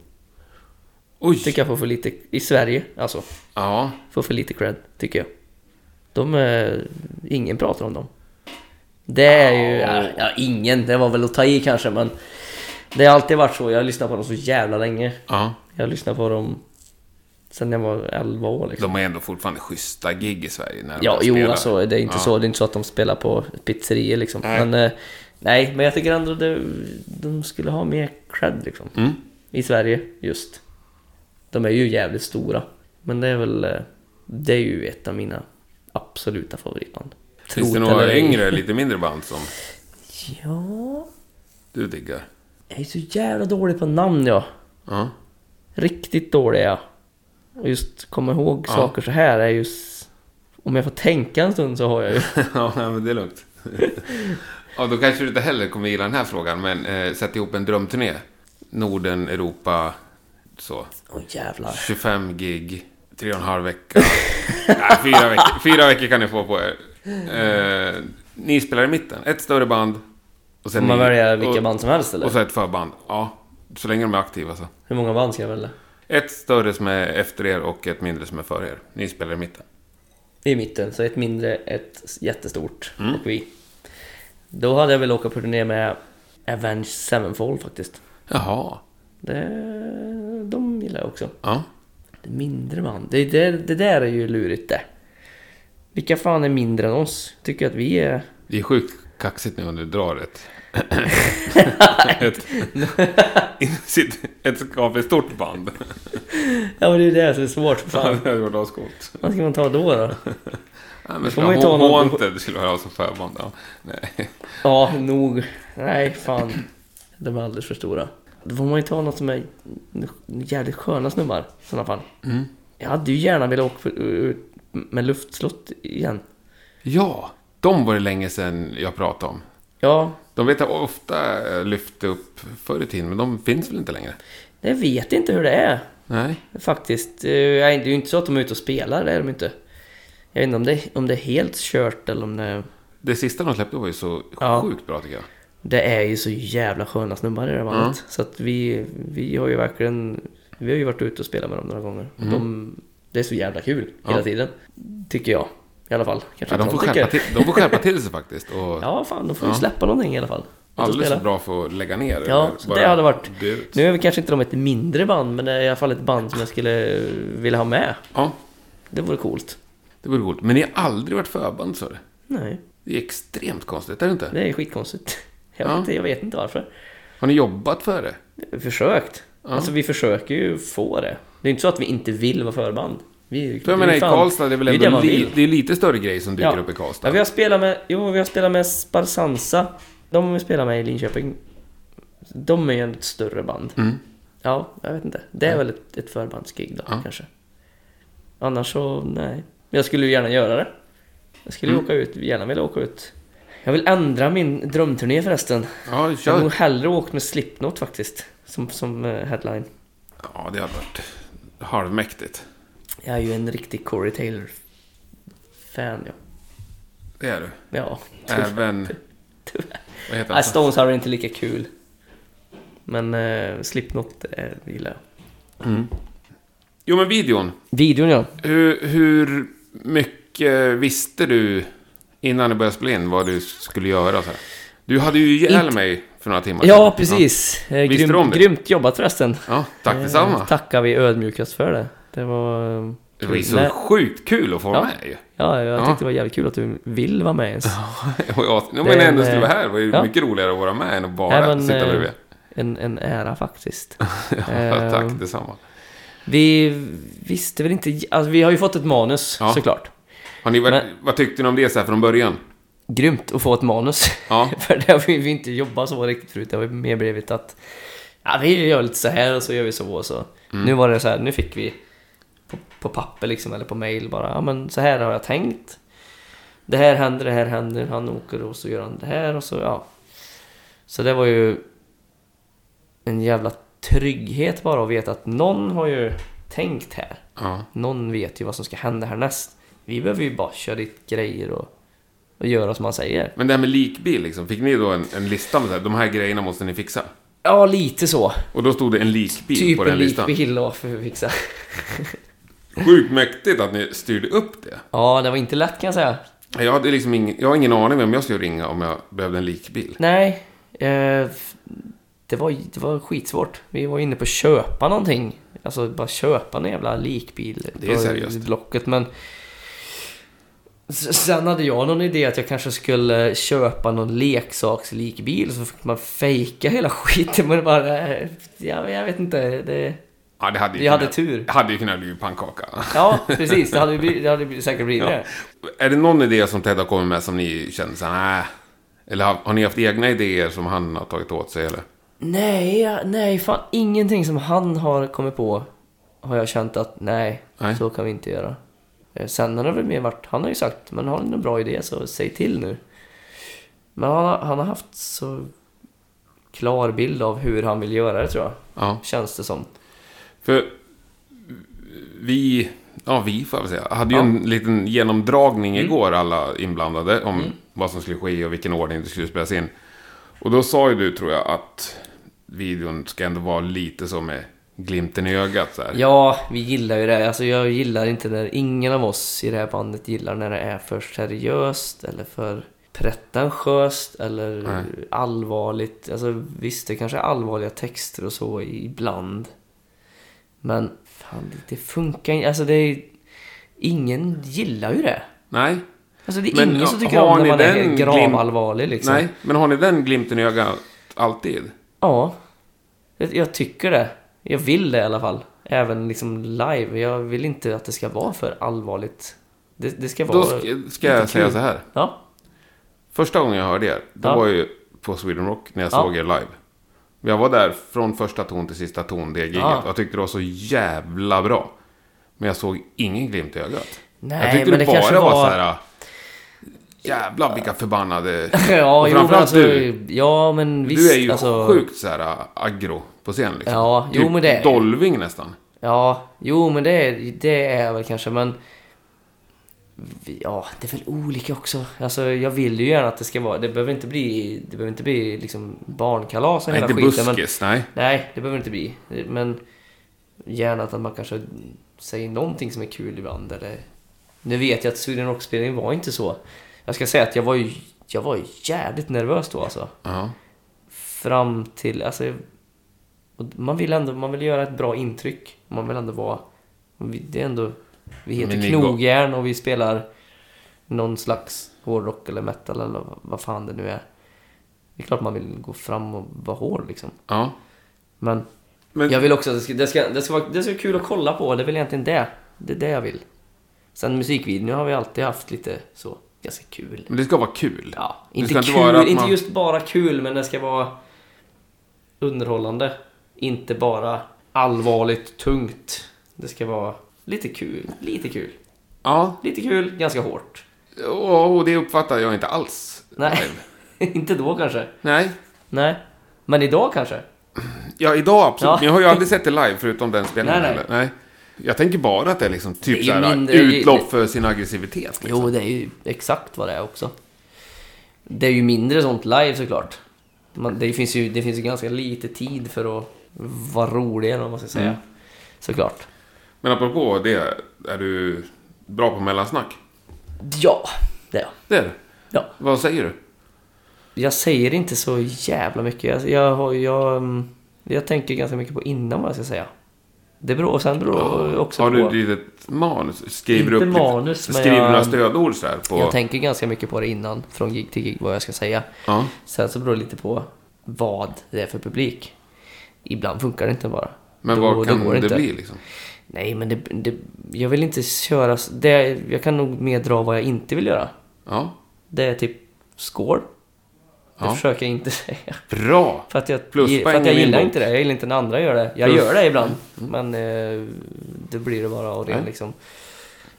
J: Oj!
I: Tycker jag får för lite, i Sverige alltså,
J: Ja.
I: får för lite cred, tycker jag. De är, ingen pratar om dem. Det är ju, ja, ja, ingen, det var väl att ta i kanske men Det har alltid varit så, jag har lyssnat på dem så jävla länge.
J: ja.
I: Jag har lyssnat på dem sen jag var 11 år liksom.
J: De är ändå fortfarande schyssta gig i Sverige när de
I: Ja,
J: väl
I: jo
J: spelar.
I: alltså, det är inte
J: Ja.
I: så, det är inte så att de spelar på pizzerier liksom.
J: Nej.
I: Men, eh, nej, men jag tycker ändå det, de skulle ha mer cred liksom.
J: Mm.
I: I Sverige, just. De är ju jävligt stora. Men det är väl... eh, Det är ju ett av mina absoluta favoritband.
J: Finns det
I: Trot eller
J: några
I: ej.
J: yngre, lite mindre band som
I: Ja...
J: du diggar?
I: Jag är så jävla dålig på namn jag.
J: Ja.
I: Riktigt dålig är jag. Och just komma ihåg
J: Ja.
I: saker så här är just... Om jag får tänka en stund så har jag ju...
J: ja, nej, men det är lugnt. ja, då kanske du inte heller kommer gilla den här frågan, men eh, sätt ihop en drömturné. Norden, Europa, så.
I: Åh jävlar.
J: 25 gig, tre och en halv vecka. nej, fyra veckor, fyra veckor kan ni få på er. Eh, ni spelar i mitten. Ett större band. Och sen
I: Får man
J: ni-
I: välja vilka
J: och,
I: band som helst
J: Och
I: eller?
J: så ett förband. Ja, så länge de är aktiva så.
I: Hur många band ska jag välja?
J: Ett större som är efter er och ett mindre som är före er. Ni spelar i mitten.
I: I mitten, så ett mindre, ett jättestort
J: Mm.
I: och vi. Då hade jag väl åka på turné med Avenged Sevenfold faktiskt.
J: Jaha.
I: Det, de gillar jag också.
J: Ja.
I: Det mindre band. Det, det, det där är ju lurigt det. Vilka fan är mindre än oss? Tycker att vi är...
J: Det är sjukt kaxigt nu om du drar ett... ett, sitt- ett skap i stort band.
I: Ja men det är ju det som är svårt för
J: Ja,
I: fan.
J: det hade varit ascoolt.
I: Vad ska man ta då då?
J: Nej, men
I: får man ju
J: skulle
I: ta
J: ha
I: någon-
J: Haunted skulle jag ha som förband. Ja. Nej.
I: Ja, nog. Nej, fan. De är alldeles för stora. Då får man ju ta något som är jävligt sköna snubbar i sådana fall. Jag hade ju gärna velat åka för- ut med luftslott igen.
J: ja, de var det länge sedan jag pratade om.
I: Ja,
J: De vet jag ofta eh, lyfte upp förr i tiden, men de finns väl inte längre?
I: jag vet inte hur det är
J: Nej.
I: faktiskt. Eh, nej, Det är ju inte så att de är ute och spelar, det är de inte. Jag vet inte om det, om det är helt kört eller om det...
J: Det sista de släppte var ju så
I: Ja.
J: sjukt bra tycker jag.
I: Det är ju så jävla sköna snubbar i det här bandet. Så att vi, vi har ju verkligen... Vi har ju varit ute och spelat med dem några gånger. De, det är så jävla kul hela
J: Mm. Ja.
I: tiden. Tycker jag. I alla fall. Kanske
J: Ja, de,
I: inte
J: får
I: de
J: skärpa
I: tycker.
J: till, de får skärpa till sig faktiskt. Och,
I: Ja, fan, de får ju
J: Ja.
I: släppa någonting i alla fall.
J: Alldeles för
I: spela.
J: bra för att lägga ner.
I: Ja,
J: eller
I: så
J: bara
I: det hade varit...
J: dö ut.
I: Nu är vi kanske inte de ett mindre band, men det är i alla fall ett band som jag skulle eh, vilja ha med.
J: Ja,
I: Det vore coolt.
J: det vore coolt. Men ni har aldrig varit förband, så det.
I: Nej,
J: Det är extremt konstigt, är det inte?
I: det är skitkonstigt. Jag,
J: Ja.
I: vet, inte- jag vet inte varför.
J: Har ni jobbat för det?
I: Försökt. Alltså vi försöker ju få det. Det är inte så att vi inte vill vara förband. Vi,
J: För jag menar, i Karlstad, det är väl
I: ju
J: ändå
I: man
J: li,
I: vill.
J: det är lite större grej som dyker
I: Ja.
J: upp i Karlstad.
I: Ja, vi har spelat med, jo, vi har spelat med Sparsansa. De har vi spelat med i Linköping. De är ju ett större band.
J: Mm.
I: Ja, jag vet inte. Det är väl ett, ett förbandsgig då,
J: Ja.
I: kanske. Annars så, nej. Jag skulle ju gärna göra det. Jag skulle ju
J: Mm.
I: åka ut, gärna vilja åka ut. Jag vill ändra min drömturné förresten.
J: Ja,
I: Jag hade nog
J: kör.
I: hellre åkt med Slipknot faktiskt. Som, som eh, headline.
J: Ja, det hade varit halvmäktigt.
I: Jag är ju en riktig Corey Taylor-fan, ja.
J: Det är du.
I: Ja,
J: Äh, Även... Vad heter
I: Nej,
J: han?
I: Stones har inte lika kul. Men eh, Slipknot eh, gillar jag.
J: Jo, men videon.
I: Videon ja.
J: Hur, hur mycket visste du innan du började spela in vad du skulle göra? Så här? Du hade ju ihjäl
I: Inte-
J: mig för några timmar
I: Ja, precis. Eh,
J: Visste
I: grym,
J: du om det?
I: Grymt jobbat förresten.
J: Ja, tack
I: Eh,
J: detsamma.
I: tackar vi ödmjukast för det. Det var... eh,
J: Det var ju
I: Nej.
J: så sjukt kul att få
I: Ja.
J: vara med ju.
I: Ja, jag
J: Ja.
I: tyckte det var jävligt kul att du vill vara med ens.
J: Och jag, jag
I: Det är
J: menar
I: en,
J: ändå att du var
I: eh,
J: här. Det var ju
I: ja.
J: mycket roligare att vara med än att bara
I: Nej, men,
J: sitta
I: eh,
J: bredvid.
I: En, en ära faktiskt.
J: Ja,
I: eh,
J: tack detsamma.
I: Vi visste väl inte... Alltså, vi har ju fått ett manus
J: Ja.
I: såklart.
J: Har ni, varit,
I: men-
J: vad tyckte ni om det så här från början?
I: Grymt att få ett manus.
J: Ja.
I: För det har vi, vi inte jobbat så riktigt förut. Det har ju mer blivit att ja, vi gör lite så här och så gör vi så och så.
J: Mm.
I: Nu var det så här, nu fick vi på, på papper liksom eller på mail bara, ja men så här har jag tänkt. Det här händer, det här händer, han åker och så gör han det här och så ja. Så det var ju en jävla trygghet bara att veta att någon har ju tänkt här.
J: Ja.
I: Någon vet ju vad som ska hända härnäst. Vi behöver ju bara köra dit grejer och, och göra som man säger.
J: Men det här med likbil, liksom, fick ni då en, en lista med så här, de här grejerna måste ni fixa?
I: Ja, lite så.
J: Och då stod det en likbil
I: Typ
J: på den
I: en
J: listan.
I: likbil och för fixa.
J: Sjukt mäktigt att ni styrde upp det.
I: Ja, det var inte lätt kan jag säga.
J: Jag, hade liksom ingen, jag har ingen aning vem jag skulle ringa om jag behövde en likbil.
I: Nej, eh, f- det, var, det var skitsvårt. Vi var inne på att köpa någonting. Alltså bara köpa en jävla likbil.
J: Det är
I: på
J: seriöst.
I: Blocket, men... S- Sen hade jag någon idé att jag kanske skulle köpa någon leksakslikbil så fick man fejka hela skiten. Men det bara... eh, Jag, jag vet inte. Det,
J: Ja, det hade ju
I: Vi hade
J: kunnat-
I: tur.
J: Det hade ju kunnat bli pannkaka.
I: ja, precis. Det hade, ju blivit- det hade ju säkert blivit det.
J: Är det någon idé som Ted har kommit med som ni känner så här, "Nä." Eller har, har ni haft egna idéer som han har tagit åt sig eller?
I: Nej, jag- nej, fan ingenting som han har kommit på har jag känt att nej,
J: Nej.
I: så kan vi inte göra. Eh, Sen har det väl mer varit, han har ju sagt, men har ni någon bra idé så säg till nu. Men han, har- han har haft så klar bild av hur han vill göra det tror jag,
J: Ja.
I: känns det som.
J: För vi, ja vi får jag väl säga, hade ju
I: Ja. Mm.
J: en liten genomdragning igår alla inblandade om vad som skulle ske och vilken ordning det skulle spelas in. Och då sa ju du tror jag att videon ska ändå vara lite som med glimten i ögat så här.
I: Ja, vi gillar ju det. Alltså jag gillar inte när, ingen av oss i det här bandet gillar när det är för seriöst eller för pretentiöst eller
J: Nej.
I: allvarligt. Alltså visst, det kanske är allvarliga texter och så ibland. Men fan, det funkar inte. Alltså det är... Ingen gillar ju det.
J: Nej,
I: Alltså det är
J: Men,
I: ingen som
J: ja,
I: tycker
J: har
I: om när
J: ni
I: man
J: den
I: är
J: glim-
I: gravallvarlig liksom.
J: nej. Men har ni den glimten i ögat alltid?
I: Ja, jag, jag tycker det. Jag vill det i alla fall. Även liksom live. Jag vill inte att det ska vara för allvarligt. Det, det ska vara...
J: Då ska, ska jag säga så här.
I: Ja,
J: Första gången jag hörde er, det
I: Ja.
J: var ju på Sweden Rock när jag
I: Ja.
J: såg er live. Jag var där från första ton till sista ton, det giget.
I: Ja.
J: Jag tyckte det var så jävla bra. Men jag såg ingen glimt i ögat.
I: Nej,
J: jag tyckte
I: men
J: det
I: det
J: bara
I: kanske
J: var,
I: var-
J: så här... ah, Jävlar vilka förbannade...
I: ja
J: Och
I: jo, men
J: framförallt
I: alltså,
J: du.
I: Ja, men visst.
J: du är ju
I: alltså,
J: sjukt så här ah, aggro på scen liksom.
I: Ja, jo,
J: typ
I: men det är-
J: Dolving nästan.
I: Ja, jo, men det, är- det är jag väl kanske, men... Ja, det är väl olika också. Alltså, jag vill ju gärna att det ska vara... Det behöver inte bli, det behöver inte bli liksom barnkalas och
J: Nej,
I: hela
J: inte
I: skiten. Men,
J: buskis, nej.
I: Nej, det behöver inte bli. Men gärna att man kanske säger någonting som är kul ibland. Eller... Nu vet jag att Sweden Rock-spelningen var inte så. Jag ska säga att jag var ju jag var ju jävligt nervös då alltså.
J: Ja.
I: fram till... Alltså, och man vill ändå man vill göra ett bra intryck. Man vill ändå vara... vi- Det är ändå... Vi heter
J: Men ni
I: Knogjärn och vi spelar någon slags hårdrock eller metal eller vad fan det nu är. Det är klart man vill gå fram och vara hård liksom.
J: Ja.
I: Men,
J: Men-
I: jag vill också att det ska, det, ska, det, ska vara, det ska vara kul att kolla på. Det är väl egentligen det. Det är det jag vill. Sen musikvideon har vi alltid haft lite så, ganska kul.
J: Men det ska vara kul.
I: Ja,
J: Det
I: inte
J: ska
I: kul,
J: vara att
I: inte
J: man-
I: just bara kul, men det ska vara underhållande. Inte bara allvarligt tungt. Det ska vara lite kul, lite kul,
J: Ja,
I: lite kul, ganska hårt.
J: och, och det uppfattar jag inte alls.
I: Nej, inte då kanske.
J: Nej.
I: Nej, men idag kanske.
J: Ja, idag absolut.
I: Ja.
J: Men jag har ju aldrig sett det live förutom den spelningen.
I: Nej, nej.
J: heller. nej. Jag tänker bara att det är liksom
I: Det är
J: typ
I: ju
J: så här
I: mindre-
J: utlopp för sin aggressivitet. Liksom.
I: Jo, det är ju exakt vad det är också. Det är ju mindre sånt live såklart. Man, det, finns ju, det finns ju ganska lite tid för att vara rolig, eller vad man ska säga. Såklart.
J: Men apropå det, är du bra på mellansnack?
I: Ja, det är jag.
J: Det är du.
I: Ja.
J: Vad säger du?
I: Jag säger inte så jävla mycket. Jag, jag, har- jag, mm, jag tänker ganska mycket på innan vad jag ska säga. Det beror, och sen beror det också
J: Har du
I: på...
J: ett litet manus? Skriver
I: Inte
J: du upp lite-
I: manus, men
J: Skriver
I: jag-
J: du några stödord så här på...
I: Jag tänker ganska mycket på det innan, från gig till gig, vad jag ska säga.
J: Ja.
I: Sen så beror det lite på vad det är för publik. Ibland funkar det inte bara.
J: Men
I: Då- då
J: vad kan
I: går
J: det,
I: inte.
J: bli liksom?
I: Nej, men det, det, jag vill inte köra... s- Det, jag kan nog mer dra vad jag inte vill göra.
J: Ja.
I: Det är typ skål. Det
J: Ja.
I: försöker jag inte säga.
J: Bra!
I: För att jag,
J: Pluspoäng
I: för att jag
J: i min
I: gillar
J: bok.
I: inte det. Jag gillar inte när andra gör det. Jag
J: Plus- Mm.
I: gör det ibland. Men eh, det blir det bara av det
J: Nej.
I: liksom.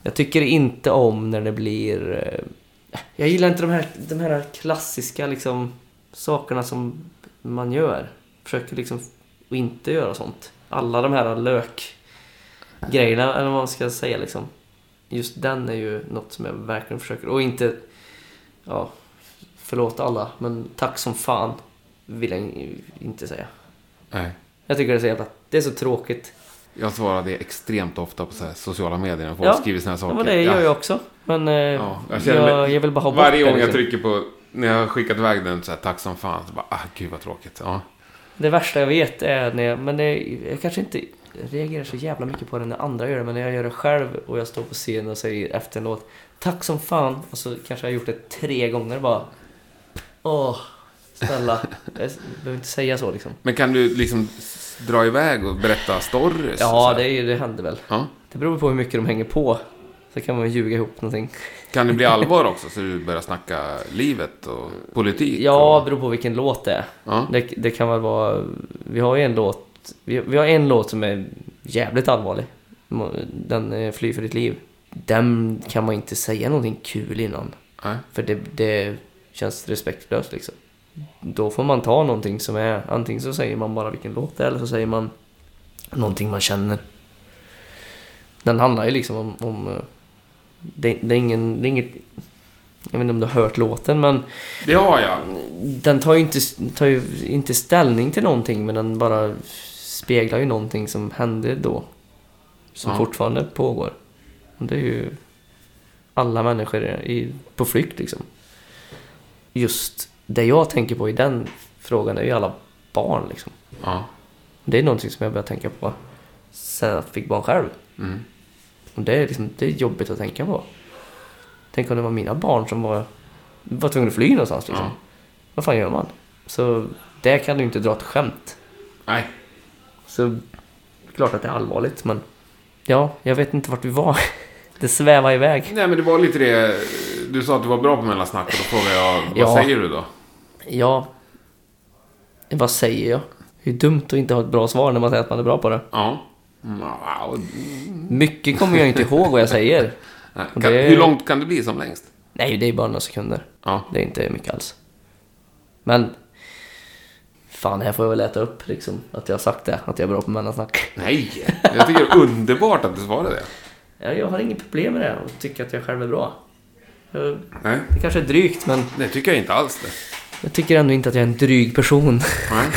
I: Jag tycker inte om när det blir... Eh, jag gillar inte de här, de här klassiska liksom, sakerna som man gör. Försöker liksom att inte göra sånt. Alla de här lök-grejerna, eller vad man ska säga liksom. Just den är ju något som jag verkligen försöker... Och inte... Ja, förlåt alla, men tack som fan vill jag in- inte säga.
J: Nej.
I: Jag tycker det är så jävla... Det är så tråkigt.
J: Jag svarar det extremt ofta på så här sociala medier när folk
I: Ja,
J: skriver såna här saker.
I: Ja, men det gör jag också. Men eh,
J: Ja, jag
I: jag,
J: känner mig-
I: jag, vill bara ha bort
J: Varje
I: det,
J: gång jag
I: liksom.
J: trycker på, när jag har skickat iväg den så här, tack som fan, så bara, ah, gud vad tråkigt. Ja.
I: Det värsta jag vet är när jag... Men det, jag kanske inte reagerar så jävla mycket på det när andra gör det. Men när jag gör det själv och jag står på scen och säger efter en låt Tack som fan. Och så kanske jag har gjort det tre gånger bara. Åh, snälla. Jag s- behöver inte säga så liksom.
J: Men kan du liksom s- dra iväg och berätta stories? Så
I: Ja,
J: här?
I: det, är ju- det händer väl.
J: Ja.
I: Det beror på hur mycket de hänger på. Så kan man ju ljuga ihop någonting.
J: Kan det bli allvar också så du börjar snacka livet och politik?
I: Ja,
J: Och...
I: beror på vilken låt det är.
J: Ja.
I: Det, det kan väl vara... Vi har ju en låt... Vi, vi har en låt som är jävligt allvarlig. Den är Fly för ditt liv. Den kan man inte säga någonting kul innan.
J: Nej.
I: För det, det känns respektlöst liksom. Då får man ta någonting som är... Antingen så säger man bara vilken låt det är eller så säger man någonting man känner. Den handlar ju liksom om... om eh, det, det, är ingen, det är inget... Jag vet inte om du har hört låten men
J: Det har jag.
I: den tar ju, inte, tar ju inte ställning till någonting men den bara speglar ju någonting som hände då. Som
J: Ja.
I: fortfarande pågår. Och det är ju alla människor i, på flykt liksom. Just det jag tänker på i den frågan är ju alla barn liksom.
J: Ja.
I: Det är någonting som jag började tänka på sen jag fick barn själv.
J: Mm.
I: Och det är, liksom, det är jobbigt att tänka på. Tänk om det var mina barn som var, var tvungna att fly någonstans. Liksom.
J: Ja.
I: Vad fan gör man? Så där kan du inte dra ett skämt.
J: Nej.
I: Så klart att det är allvarligt, men ja, jag vet inte vart vi var. Det svävar iväg.
J: Nej, men det var lite det. Du sa att du var bra på mellansnack och då frågade jag, vad
I: Ja.
J: säger du då?
I: Ja, vad säger jag? Det är ju dumt att inte ha ett bra svar när man säger att man är bra på det.
J: Ja. Mm, wow.
I: Mycket kommer jag inte ihåg vad jag säger.
J: Nej,
I: Och
J: Kan,
I: det-
J: Hur långt kan det bli som längst?
I: Nej, det är bara några sekunder.
J: Ja.
I: Det är inte mycket alls. Men... Fan, här får jag väl äta upp liksom. Att jag har sagt det. Att jag är bra på mellansnack.
J: Nej, jag tycker det är underbart att du svarade det.
I: Ja, jag har inget problem med det och tycker att jag själv är bra. Jag-
J: Nej,
I: Det kanske är drygt, men
J: det tycker jag inte alls det.
I: jag tycker ändå inte att jag är en dryg person.
J: Nej.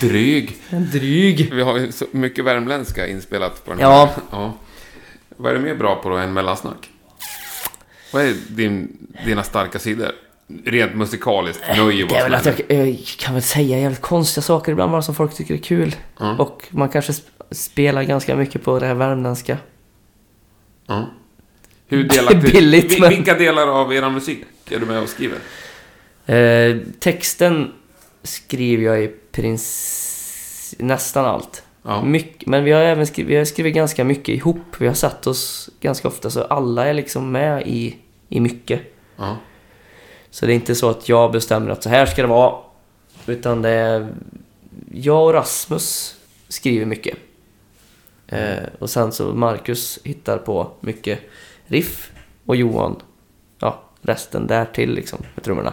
J: Dryg.
I: En dryg?
J: Vi har ju så mycket värmländska inspelat på den
I: Ja.
J: här. Ja. Vad är du mer bra på då än mellansnack? Vad är din, dina starka sidor? rent musikaliskt nöje
I: Eh, Det är väl alltså
J: bara
I: att jag, jag kan väl säga jävligt konstiga saker ibland bara som folk tycker är kul.
J: Mm.
I: Och man kanske sp- spelar ganska mycket på det här värmländska.
J: Ja. Hur delaktig,
I: Billigt,
J: vi-
I: men-
J: Vilka delar av er musik är du med och skriver?
I: Eh, texten skriver jag i princip nästan allt.
J: Ja.
I: Mycket, men vi har även skrivit, vi har skrivit ganska mycket ihop. Vi har satt oss ganska ofta så alla är liksom med i, i mycket.
J: Ja.
I: Så det är inte så att jag bestämmer att så här ska det vara. Utan det är... Jag och Rasmus skriver mycket. Eh, och sen så Marcus hittar på mycket riff. Och Johan, ja, resten där till liksom med trummorna.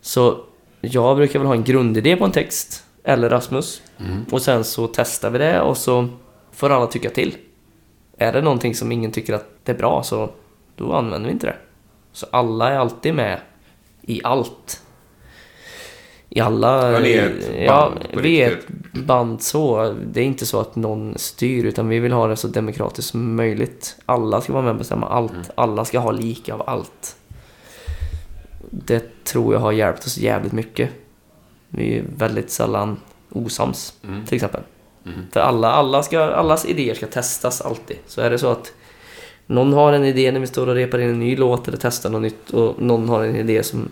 I: Så jag brukar väl ha en grundidé på en text. Eller Rasmus.
J: Mm.
I: Och sen så testar vi det och så får alla tycka till. Är det någonting som ingen tycker att det är bra så då använder vi inte det. Så alla är alltid med i allt. I alla...
J: Ja, ni är ett band
I: ja,
J: på
I: vi är ett
J: riktigt.
I: band så. Det är inte så att någon styr utan vi vill ha det så demokratiskt som möjligt. Alla ska vara med och bestämma allt.
J: Mm.
I: Alla ska ha lika av allt. Det tror jag har hjälpt oss jävligt mycket. Vi är väldigt sällan osams, till exempel. För alla, alla ska, allas idéer ska testas alltid. Så är det så att någon har en idé när vi står och repar in en ny låt eller testar något nytt och någon har en idé som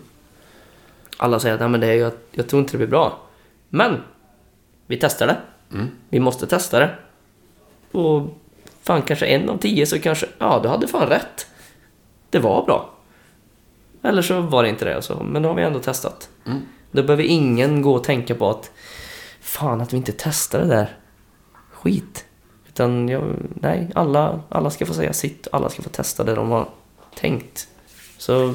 I: alla säger att Nej, men det är, jag, jag tror inte det blir bra. Men! Vi testar det. Vi måste testa det. Och fan kanske en av tio så kanske, ja du hade fan rätt. Det var bra. Eller så var det inte det alltså, men då har vi ändå testat.
J: Mm.
I: Då behöver ingen gå och tänka på att fan att vi inte testade det där. Skit. Utan jag, nej, alla, alla ska få säga sitt alla ska få testa det de har tänkt. Så,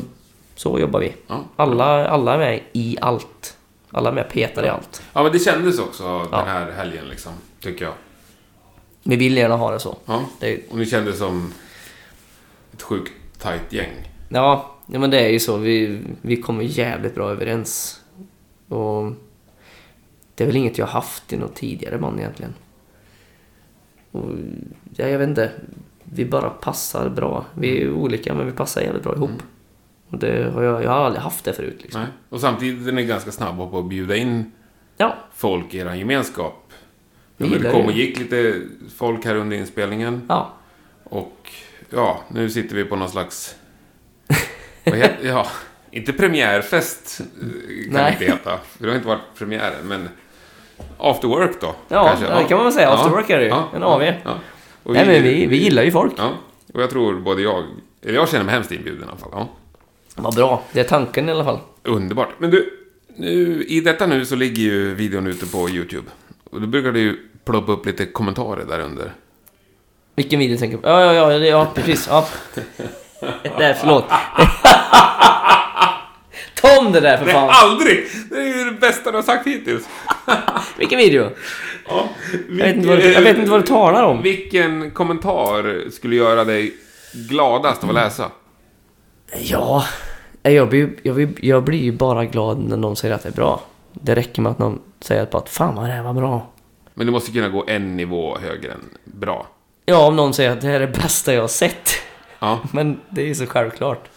I: så jobbar vi.
J: Ja.
I: Alla, alla är med i allt. Alla är med och petar i allt.
J: Ja, men det kändes också
I: Ja.
J: den här helgen liksom, tycker jag.
I: Vi vill gärna ha det så.
J: Ja.
I: Det är,
J: Och ni kändes som ett sjukt tajt gäng.
I: Ja, ja men det är ju så. Vi, vi kommer jävligt bra överens. Och det är väl inget jag har haft i något tidigare man egentligen. Och, ja, jag vet inte. Vi bara passar bra. Vi är olika men vi passar jävligt bra ihop. Och det har jag, jag har aldrig haft det förut. Liksom.
J: Mm. Nej. Och samtidigt är ni ganska snabba på att bjuda in
I: Ja,
J: folk i er gemenskap.
I: Vi
J: Ja, men
I: gillar
J: det kom
I: det.
J: och gick lite folk här under inspelningen.
I: ja.
J: Och ja, nu sitter vi på någon slags... Vad heter, ja, inte premiärfest eh, kan
I: Nej.
J: det inte heta. För det har inte varit premiären, men... After work då?
I: Ja, det kan man väl säga. After work är det ju. En AV.
J: Och
I: Nej men vi, vi gillar ju folk.
J: Ja, och jag tror både jag... Eller jag känner mig hemskt inbjuden i alla fall. Ja.
I: Vad bra. Det är tanken i alla fall.
J: Underbart. Men du, nu, i detta nu så ligger ju videon ute på YouTube. Och då brukar du ju ploppa upp lite kommentarer där under.
I: Vilken video tänker du på? Ja, ja, ja, det- ja precis. Ja. Det där, förlåt. Ta om det där för
J: Nej,
I: fan.
J: aldrig! Det är ju det bästa du har sagt hittills.
I: Vilken video?
J: Ja,
I: Jag vet, inte vad du, jag vet inte vad du talar om.
J: Vilken kommentar skulle göra dig gladast av att läsa?
I: Ja, nej, jag blir, jag, blir, jag blir ju bara glad när någon säger att det är bra. Det räcker med att någon säger att bara, fan vad det här var bra.
J: Men du måste kunna gå en nivå högre än bra.
I: Ja, om någon säger att det här är det bästa jag har sett.
J: Ja,
I: Men det är ju så självklart.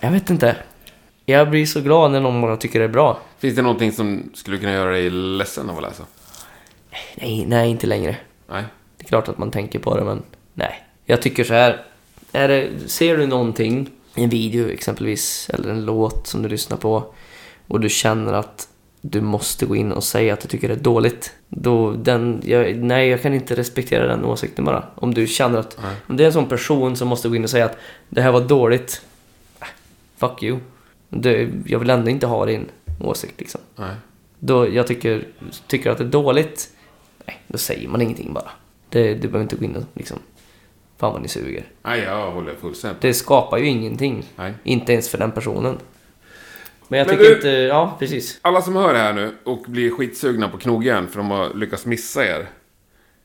I: Jag vet inte. Jag blir så glad när någon bara tycker det är bra.
J: finns det någonting som skulle kunna göra dig ledsen av att läsa?
I: Nej, nej, inte längre.
J: Nej.
I: Det är klart att man tänker på det, men nej. Jag tycker så här. Är det, ser du någonting, en video exempelvis, eller en låt som du lyssnar på och du känner att du måste gå in och säga att du tycker det är dåligt. Då den, jag, nej, jag kan inte respektera den åsikten bara. Om du känner att, om det är en sån person som måste gå in och säga att det här var dåligt. äh, Fuck you. Det, jag vill ändå inte ha din åsikt liksom.
J: Nej.
I: Då jag tycker, tycker att det är dåligt, nej, då säger man ingenting bara. Det, du behöver inte gå in och liksom, fan vad ni suger.
J: Nej, jag håller fullständigt.
I: Det skapar ju ingenting.
J: Nej.
I: Inte ens för den personen. Men jag
J: Men
I: tycker
J: du-
I: inte, ja precis.
J: Alla som hör det här nu och blir skitsugna på knogjärn för de har lyckats missa er.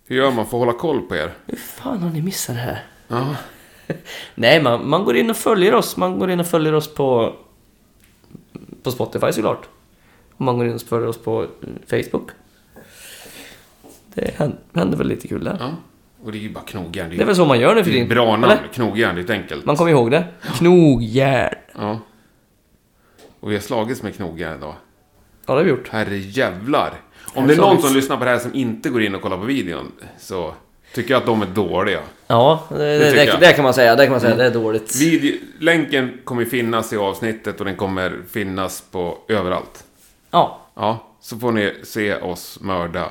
J: Hur gör man för att hålla koll på er?
I: Hur fan har ni missat det här?
J: Ja.
I: Nej, man, man går in och följer oss. Man går in och följer oss på, på Spotify såklart. Och man går in och följer oss på eh, Facebook. Det hän- händer väl lite kul där.
J: ja. Och det är ju bara knogjärn.
I: Det är väl så man gör nu för
J: det är
I: tiden?
J: ett bra namn. liksom.
I: eller?
J: Knogjärn, det är ett enkelt.
I: Man kommer ihåg det. Knogjärn.
J: Ja. Och vi har slagits med knogar idag.
I: Ja, det har vi gjort.
J: Herre jävlar. Om
I: Jag
K: Alltså,
J: det är någon
I: slagits.
J: som lyssnar på det här som inte går in och kollar på videon så tycker jag att de är dåliga.
I: Ja, det, det,
J: tycker jag. Mm.
I: det, kan man säga. Det kan man säga. Det är dåligt.
J: Video, länken kommer finnas i avsnittet och den kommer finnas på överallt.
I: Ja,
J: Ja, så får ni se oss mörda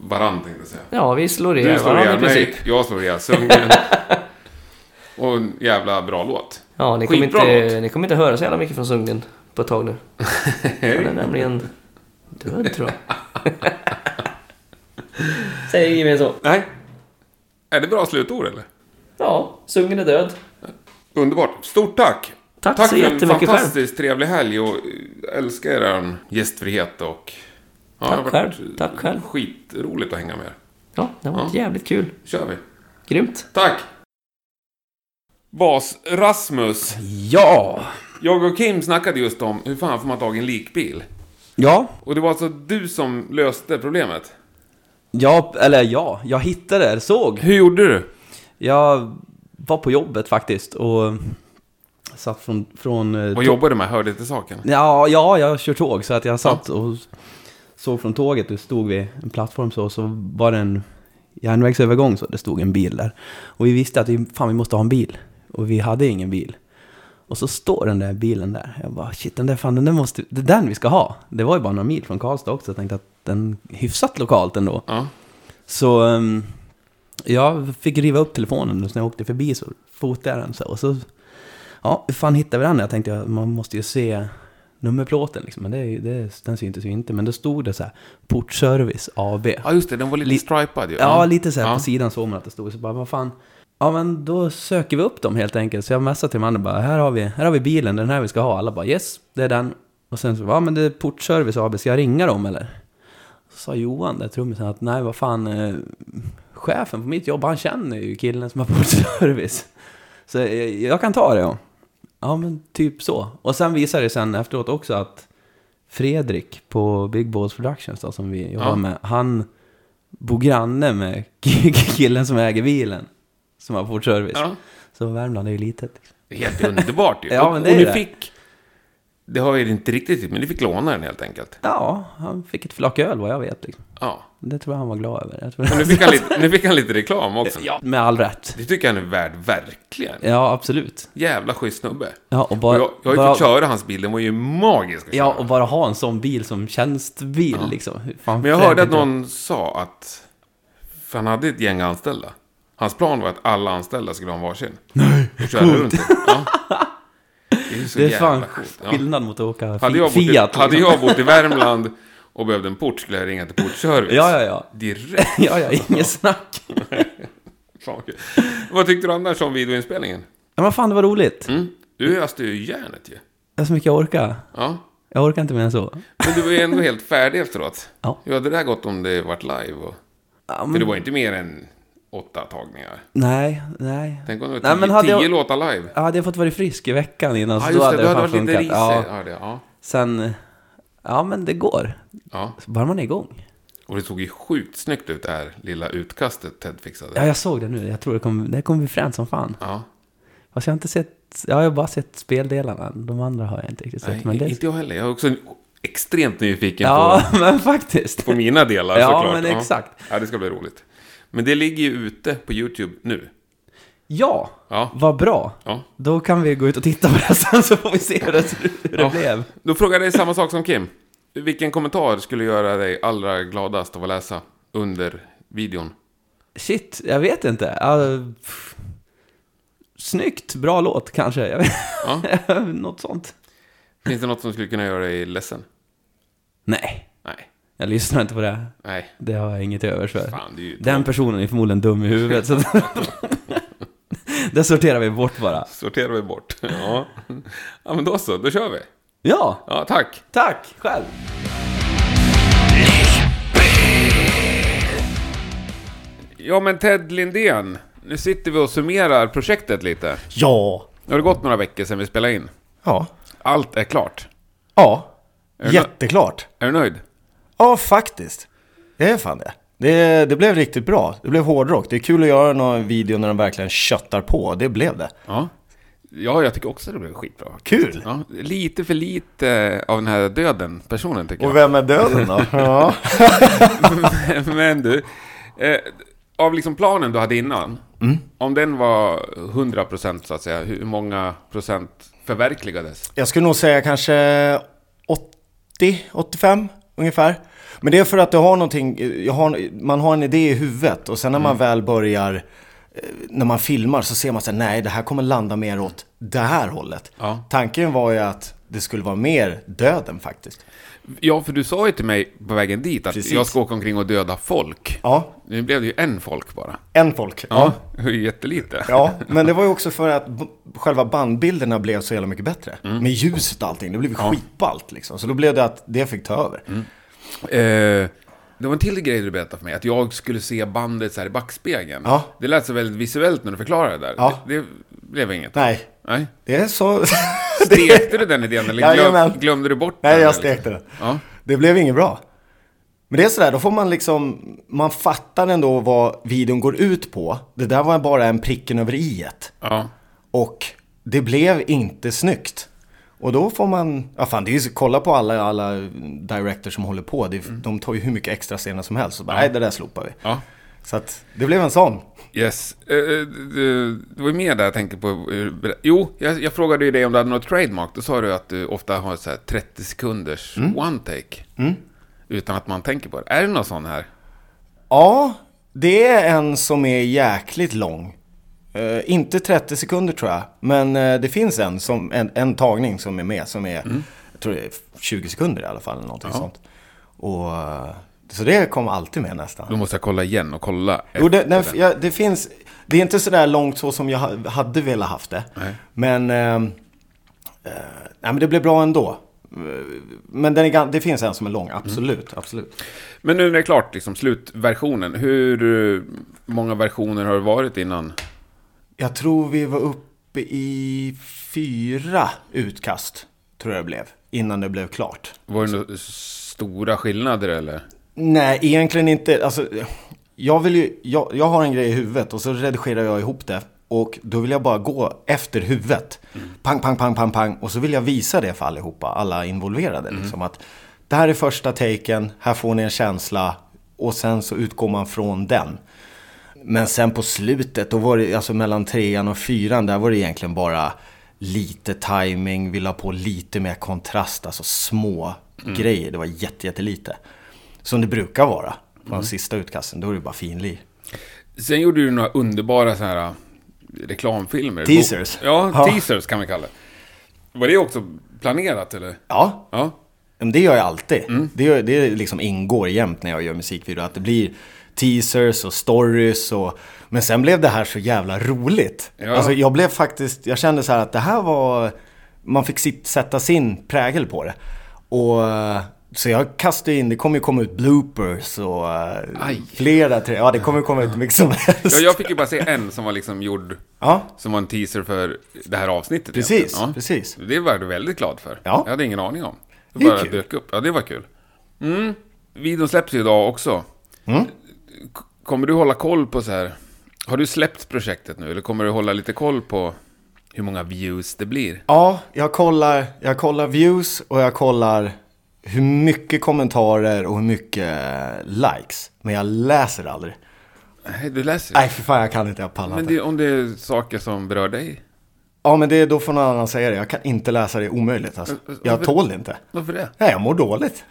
J: varandra tänkte jag säga.
I: ja, vi slår
J: Du
I: ihjäl
J: slår
I: varandra i
J: ihjäl
I: princip.
J: mig, jag slår ihjäl Sundgren. och en jävla bra låt.
I: Ja, ni kommer,
J: Skitbra
I: inte,
J: låt.
I: ni kommer inte höra så jävla mycket från Sundgren på ett tag nu. Han är nämligen död, tror jag. Säger Jimmy så.
J: Nej. Är det bra slutord eller?
I: Ja, Sundgren är död.
J: Underbart. Stort tack!
I: Tack så
J: för en
I: jättemycket själv.
J: fantastiskt trevlig helg och eh, älskar er gästfrihet och... Ja,
I: Tack
J: det har varit
I: själv, tack själv.
J: Skitroligt att hänga med er.
I: Ja, det var jävligt kul.
J: kör vi.
I: Grymt.
J: Tack! Bas-Rasmus,
A: Ja!
J: jag och Kim snackade just om hur fan får man tag i en likbil?
K: Ja,
J: Och det var alltså du som löste problemet?
K: ja, eller ja, jag hittade det, såg.
J: Hur gjorde du?
K: Jag var på jobbet faktiskt och satt från... från eh,
J: Vad
K: tå-
J: jobbade du med? Hörde till saken?
K: Ja, ja, jag kör tåg så att jag satt och såg från tåget. Det stod vid en plattform så, så var det en järnvägsövergång så det stod en bil där. Och vi visste att vi, fan, vi måste ha en bil. Och vi hade ingen bil. Och så står den där bilen där. Jag bara shit, den där fan, den där måste, det är den vi ska ha. Det var ju bara några mil från Karlstad också. Jag tänkte att den är hyfsat lokalt ändå. Så ehm, jag fick riva upp telefonen och så när jag åkte förbi så fotade jag den så här. Och så, ja, hur fan hittade vi den? Jag tänkte jag, man måste ju se nummerplåten liksom. Men det, är ju- det, den syns ju inte. Men då stod det så här, Portservice AB.
J: Ja, just det. Den var lite stripad ju.
K: Ja, lite så här
J: Ja.
K: på sidan såg man att det stod. Så bara, vad fan. Ja, men då söker vi upp dem helt enkelt. Så jag messade till mannen bara, här har vi, här har vi bilen, den här vi ska ha. Alla bara, yes, det är den. Och sen så, ja men det är Portservice AB, ska jag ringa dem eller? Så sa Johan, där trummisen, att nej vad fan, eh, chefen på mitt jobb, han känner ju killen som har Portservice. Så jag, jag kan ta det, ja. Ja, men typ så. Och sen visade det sen efteråt också att Fredrik på Big Balls Productions då, som vi jobbar
J: Ja.
K: med, han bor granne med killen som äger bilen. Som har Portservice.
J: Ja.
K: Så Värmland är ju litet. liksom.
J: Det är helt underbart ju.
K: Ja,
J: Och-
K: men det
J: och
K: är
J: ni
K: det.
J: fick... Det har vi inte riktigt gjort, men ni fick låna den helt enkelt.
K: Ja, han fick ett flak öl vad jag vet. Liksom.
J: Ja.
K: Det tror jag han var glad över. Jag tror
J: Och nu fick han lite, nu fick han lite reklam också.
K: Ja, med all rätt.
J: Det tycker jag han är värd, verkligen.
K: Ja, absolut.
J: Jävla schysst snubbe.
K: Ja, och
J: Och
K: bara,
J: jag, jag har ju
K: bara,
J: fått köra hans bil, den var ju magisk. att
K: ja,
J: köra.
K: och bara ha en sån bil som tjänstbil liksom. Hur Fan,
J: Men jag
K: fränt
J: hörde att
K: inte det?
J: någon sa att... För han hade ett gäng anställda. Hans plan var att alla anställda skulle ha en varsin. Nej, och köra runt. i. Ja. Det är ju så
K: Det är
J: jävla
K: fan
J: coolt. Ja.
K: skillnad mot att åka
J: Hade
K: Fiat.
J: jag, bott i,
K: liksom.
J: hade jag bott i Värmland och behövde en port skulle jag ringa till Portservice.
K: Ja, ja, ja.
J: Direkt.
K: ja, ja, inget snack.
J: Fan, vad kul. Vad tyckte du annars om videoinspelningen?
K: Ja, men fan, det var roligt.
J: Mm? Du öste ju järnet ju.
K: Det är så mycket jag orkar.
J: Ja.
K: Jag orkar inte mer än så.
J: Men du var ju ändå helt färdig efteråt.
K: Ja.
J: Hur hade det där gått om det varit live? Och...
K: Ja,
J: För det
K: men,
J: var inte mer än åtta tagningar.
K: nej, nej.
J: Tänk om det var tio,
K: Nej, men hade
J: tio
K: jag-
J: låtar live.
K: Ja, hade jag fått vara frisk i veckan innan
J: Ja,
K: så då
J: just det.
K: hade
J: Du
K: det
J: hade
K: fan
J: varit lite
K: funkat.
J: risig.
K: Ja,
J: Ja. det- Ja,
K: sen... Ja, men det går.
J: ja.
K: Så bara man är igång.
J: Och det såg ju sjukt snyggt ut det här lilla utkastet Ted fixade.
K: Ja, jag såg det nu. Jag tror det kommer, det kommer bli fränt som fan.
J: Ja.
K: Fast jag har inte sett... Ja, jag har bara sett speldelarna. De andra har jag inte riktigt sett.
J: Nej,
K: men det...
J: Inte jag heller. Jag är också extremt nyfiken
K: Ja,
J: på...
K: men faktiskt.
J: på mina delar
K: Ja,
J: såklart.
K: men exakt.
J: Ja, det ska bli roligt. Men det ligger ju ute på YouTube nu.
K: Ja,
J: Ja.
K: vad bra.
J: Ja.
K: Då kan vi gå ut och titta på det sen så får vi se hur det, hur det blev.
J: Då frågar jag dig samma sak som Kim. Vilken kommentar skulle göra dig allra gladast av att läsa under videon?
K: Shit, jag vet inte. Uh, snyggt, bra låt kanske. Jag vet.
J: Ja.
K: Något sånt.
J: Finns det något som skulle kunna göra dig ledsen?
K: Nej,
J: Nej.
K: jag lyssnar inte på det.
J: Nej.
K: Det har jag inget övers för.
J: Fan, det är ju
K: Den personen är förmodligen dum i huvudet. Så det sorterar vi bort bara.
J: Sorterar vi bort. Ja. ja, men då så. Då kör vi.
K: Ja,
J: Ja, tack.
K: tack själv.
J: Ja, men Ted Lindén. Nu sitter vi och summerar projektet lite.
C: Ja.
J: Nu har det gått några veckor sedan vi spelade in.
C: Ja.
J: Allt är klart.
C: Ja.
J: det-
C: Jätteklart.
J: Är du nöjd?
C: Ja, faktiskt. Jag är fan det. det. Det blev riktigt bra. Det blev hårdrock. Det är kul att göra någon video när de verkligen köttar på. Det blev det.
J: Ja. Ja, jag tycker också att det blev skitbra.
C: Kul!
J: Ja, lite för lite eh, av den här döden personen tycker
C: Och
J: jag.
C: vem är döden då? Ja.
J: men, men du, eh, av liksom planen du hade innan,
C: Mm.
J: om den var 100 procent så att säga, hur många procent förverkligades?
C: Jag skulle nog säga kanske 80-85 ungefär. Men det är för att du har någonting, jag har, man har en idé i huvudet och sen när
J: Mm.
C: man väl börjar, eh, när man filmar så ser man så här, nej det här kommer landa mer åt det här hållet.
J: Ja.
C: Tanken var ju att det skulle vara mer döden faktiskt.
J: ja, för du sa ju till mig på vägen dit att
C: Precis.
J: jag ska åka omkring och döda folk.
C: Ja.
J: Nu blev det ju en folk bara.
C: En folk.
J: Ja, det är ju jättelite.
C: Ja, men det var ju också för att b- själva bandbilderna blev så jävla mycket bättre.
J: Mm.
C: Med ljuset och allting, det blev ju skitballt liksom. Så då blev det att det fick ta över.
J: Mm. Eh, det var en till grej du berättade för mig, att jag skulle se bandet så här i backspegeln.
C: Ja.
J: Det lät så väldigt visuellt när du förklarade det där.
C: Ja.
J: Det, det blev inget.
C: Nej,
J: Nej.
C: det är så...
J: Stekte du den idén eller glöm,
C: Jajamän.
J: glömde du bort den?
C: Nej, jag
J: eller?
C: stekte den.
J: Ja.
C: Det blev inget bra. Men det är sådär, då får man liksom, man fattar ändå vad videon går ut på. Det där var bara en pricken över i
J: ja.
C: Och det blev inte snyggt. Och då får man, ja fan det är ju, så- kolla på alla, alla directors som håller på. Det, är- De tar ju hur mycket extra scener som helst. Så bara, nej det där slopar vi.
J: Mm. Ja.
C: Så att det blev en sån.
J: Yes. Eh, du, du var ju med där, jag tänker på... eh, ber- Jo, jag, jag frågade ju dig om du hade något trademark. Då sa du att du ofta har så här 30 sekunders
C: Mm.
J: one take. Utan att man tänker på det. Är det någon sån här?
C: Ja, det är en som är jäkligt lång. Eh, inte 30 sekunder tror jag, men eh, det finns en, som, en, en tagning som är med som är,
J: Mm.
C: jag tror det är 20 sekunder i alla fall eller någonting sånt. Och, eh, så det kom alltid med nästan.
J: Då måste jag kolla igen och kolla.
C: Jo, det,
J: efter
C: den,
J: den.
C: ja, det finns, det är inte sådär långt så som jag ha- hade velat haft det.
J: Nej.
C: Men, ehm, eh, nej, men det blev bra ändå. Eh, Men den är, gan- det finns en som är lång, absolut.
J: Mm.
C: absolut.
J: Men nu när det är klart, liksom, slutversionen. Hur eh, många versioner har det varit innan?
C: Jag tror vi var uppe i fyra utkast, tror jag det blev, innan det blev klart.
J: Var det några stora skillnader eller?
C: Nej, egentligen inte. Alltså, jag, vill ju, jag, jag har en grej i huvudet och så redigerar jag ihop det. Och då vill jag bara gå efter huvudet. Pang, pang, pang, pang, pang. Och så vill jag visa det för allihopa, alla involverade. Liksom, att det här är första taken, här får ni en känsla. Och sen så utgår man från den. Men sen på slutet, då var det, alltså mellan trean och fyran, där var det egentligen bara lite timing, vill ha på lite mer kontrast, alltså små grejer. Det var jätte, jättelite. Som det brukar vara på de sista utkasten, då är det bara finlir.
J: Sen gjorde du några underbara så här eh, reklamfilmer.
C: Teasers.
J: Ja,
C: Ja.
J: teasers kan vi kalla det. Var det också planerat eller?
C: Ja,
J: Ja.
C: men det gör jag alltid.
J: Mm.
C: Det, gör, det liksom ingår jämt när jag gör musikvideo, att det blir teasers och stories och... Men sen blev det här så jävla roligt.
J: Ja.
C: Alltså jag blev faktiskt, jag kände så här att det här var... Man fick sitt, sätta sin prägel på det. Och... eh, Så jag kastade in, det kommer ju komma ut bloopers och eh,
J: Aj.
C: flera, tre, ja det kommer ju komma ut hur mycket som helst.
J: ja. Jag fick ju bara se en som var liksom gjord,
C: Ja,
J: som var en teaser för det här avsnittet.
C: Precis,
J: egentligen.
C: precis.
J: Det var du väldigt glad för.
C: Ja.
J: Jag hade ingen aning om. Det
C: Det är
J: bara
C: kul.
J: dök upp. Ja, det var kul. Mm. Videon släpps ju idag också.
C: Mm.
J: K- Kommer du hålla koll på så här... Har du släppt projektet nu, eller kommer du hålla lite koll på hur många views det blir?
C: Ja, jag kollar, jag kollar views och jag kollar hur mycket kommentarer och hur mycket likes. Men jag läser aldrig.
J: Nej, du läser ju.
C: Nej, för fan alltså. jag kan inte, jag pallar
J: Men
C: inte.
J: det, om det är saker som berör dig?
C: Ja, men det är då får någon annan säga det. Jag kan inte läsa det, omöjligt alltså. Jag tål inte.
J: Varför det?
C: Nej, jag mår dåligt.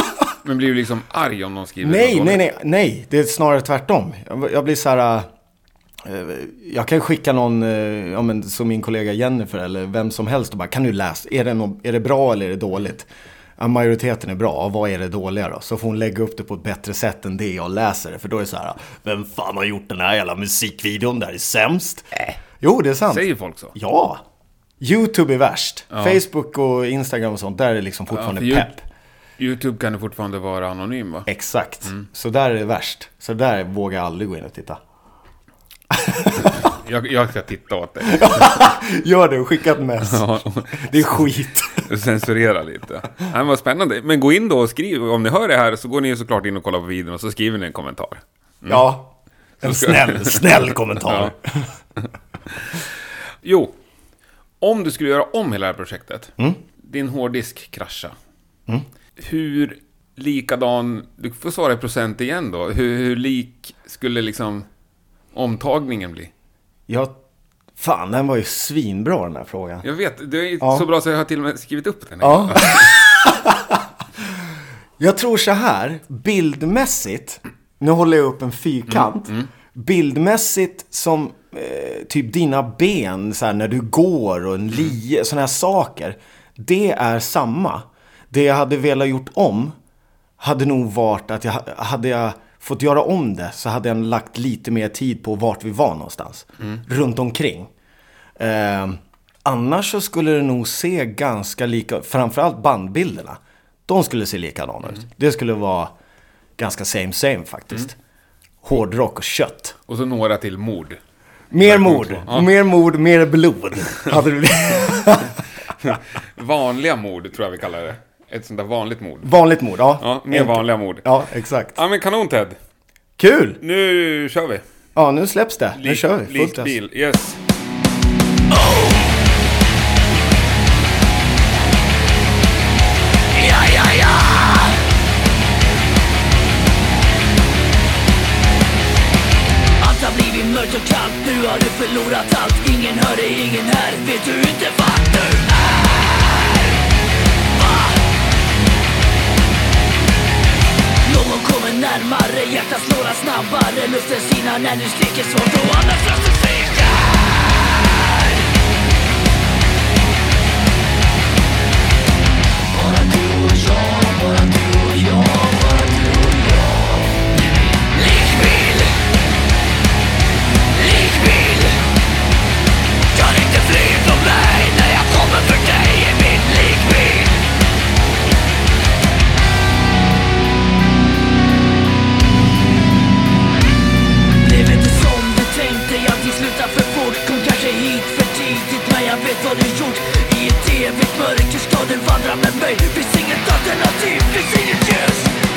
J: Men blir du liksom arg om någon skriver
C: Nej,
J: något
C: nej,
J: dåligt?
C: nej, nej. Det är snarare tvärtom. Jag, jag blir så här... eh, Jag kan skicka någon, eh, ja, men, som min kollega Jennifer eller vem som helst och bara, kan du läsa? Är det, nå- är det bra eller är det dåligt? Ja, majoriteten är bra, Ja, vad är det dåliga då? Så får hon lägga upp det på ett bättre sätt än det jag läser. För då är det så här, vem fan har gjort den här jävla musikvideon? Det här är sämst. Jo, det är sant.
J: Äh. Säger folk så?
C: Ja! YouTube är värst. Facebook och Instagram och sånt, där är det liksom fortfarande
J: Ja, för
C: pepp.
J: Yout- YouTube kan du fortfarande vara anonym va?
C: Exakt. Så där är det värst. Så där vågar jag aldrig gå in och titta.
J: Jag, jag ska titta åt dig.
C: Gör det och skicka ett mess.
J: Ja. Mm.
C: Det är skit.
J: Censurera lite. Nej, men vad spännande. Men gå in då och skriv. Om ni hör det här så går ni ju såklart in och kollar på videon och så skriver ni en kommentar.
C: Ja. En
J: ska-
C: snäll, snäll kommentar.
J: Jo, Om du skulle göra om hela det här projektet,
C: Mm.
J: din hårddisk krascha.
C: Mm.
J: Hur likadan, du får svara i procent igen då, hur, hur lik skulle liksom omtagningen bli?
C: Ja, fan den var ju svinbra den här frågan.
J: Jag vet, du är ju
C: Ja.
J: så bra så jag har till och med skrivit upp den.
C: Ja. Jag tror så här, bildmässigt, nu håller jag upp en fyrkant. Bildmässigt som eh, typ dina ben, så här, när du går och en lie, sådana här saker. Det är samma. Det jag hade velat gjort om hade nog varit att jag, ha- hade jag fått göra om det så hade jag lagt lite mer tid på vart vi var någonstans.
K: Mm.
C: Runt omkring. Eh, annars så skulle det nog se ganska lika, framförallt bandbilderna. De skulle se likadana ut. Det skulle vara ganska same same faktiskt.
J: Mm.
C: Hårdrock och kött.
J: Och så några till mord.
C: Mer mord,
J: Ja.
C: mer mord, mer blod. Hade det blivit.
J: Vanliga mord tror jag vi kallar det. Ett sånt där vanligt mord.
C: Vanligt mord, ja.
J: Ja, mer
C: Enkelt.
J: vanliga mord.
C: Ja, exakt.
J: Ja, men kanon Ted.
C: Kul!
J: Nu kör vi.
C: Ja, nu släpps det. Nu kör vi. Fullt
J: Lik
C: gas.
J: bil, yes.
K: Ja, ja, ja! Allt har blivit mörkt och kallt, nu har du förlorat allt Ingen hör dig, ingen här, vet du inte vart du är? Va? Någon kommer närmare, hjärtat slår allt snabbare Luften sinar när du skriker svårt och allas röster sviktar likbil Kan inte fly från mig när jag kommer för dig i min likbil Blev inte som du tänkte, jag till slut för fort Kom kanske hit för tidigt men jag vet vad du gjort I ett evigt mörker ska du vandra med mig typ, Finns inget alternativ, finns inget ljus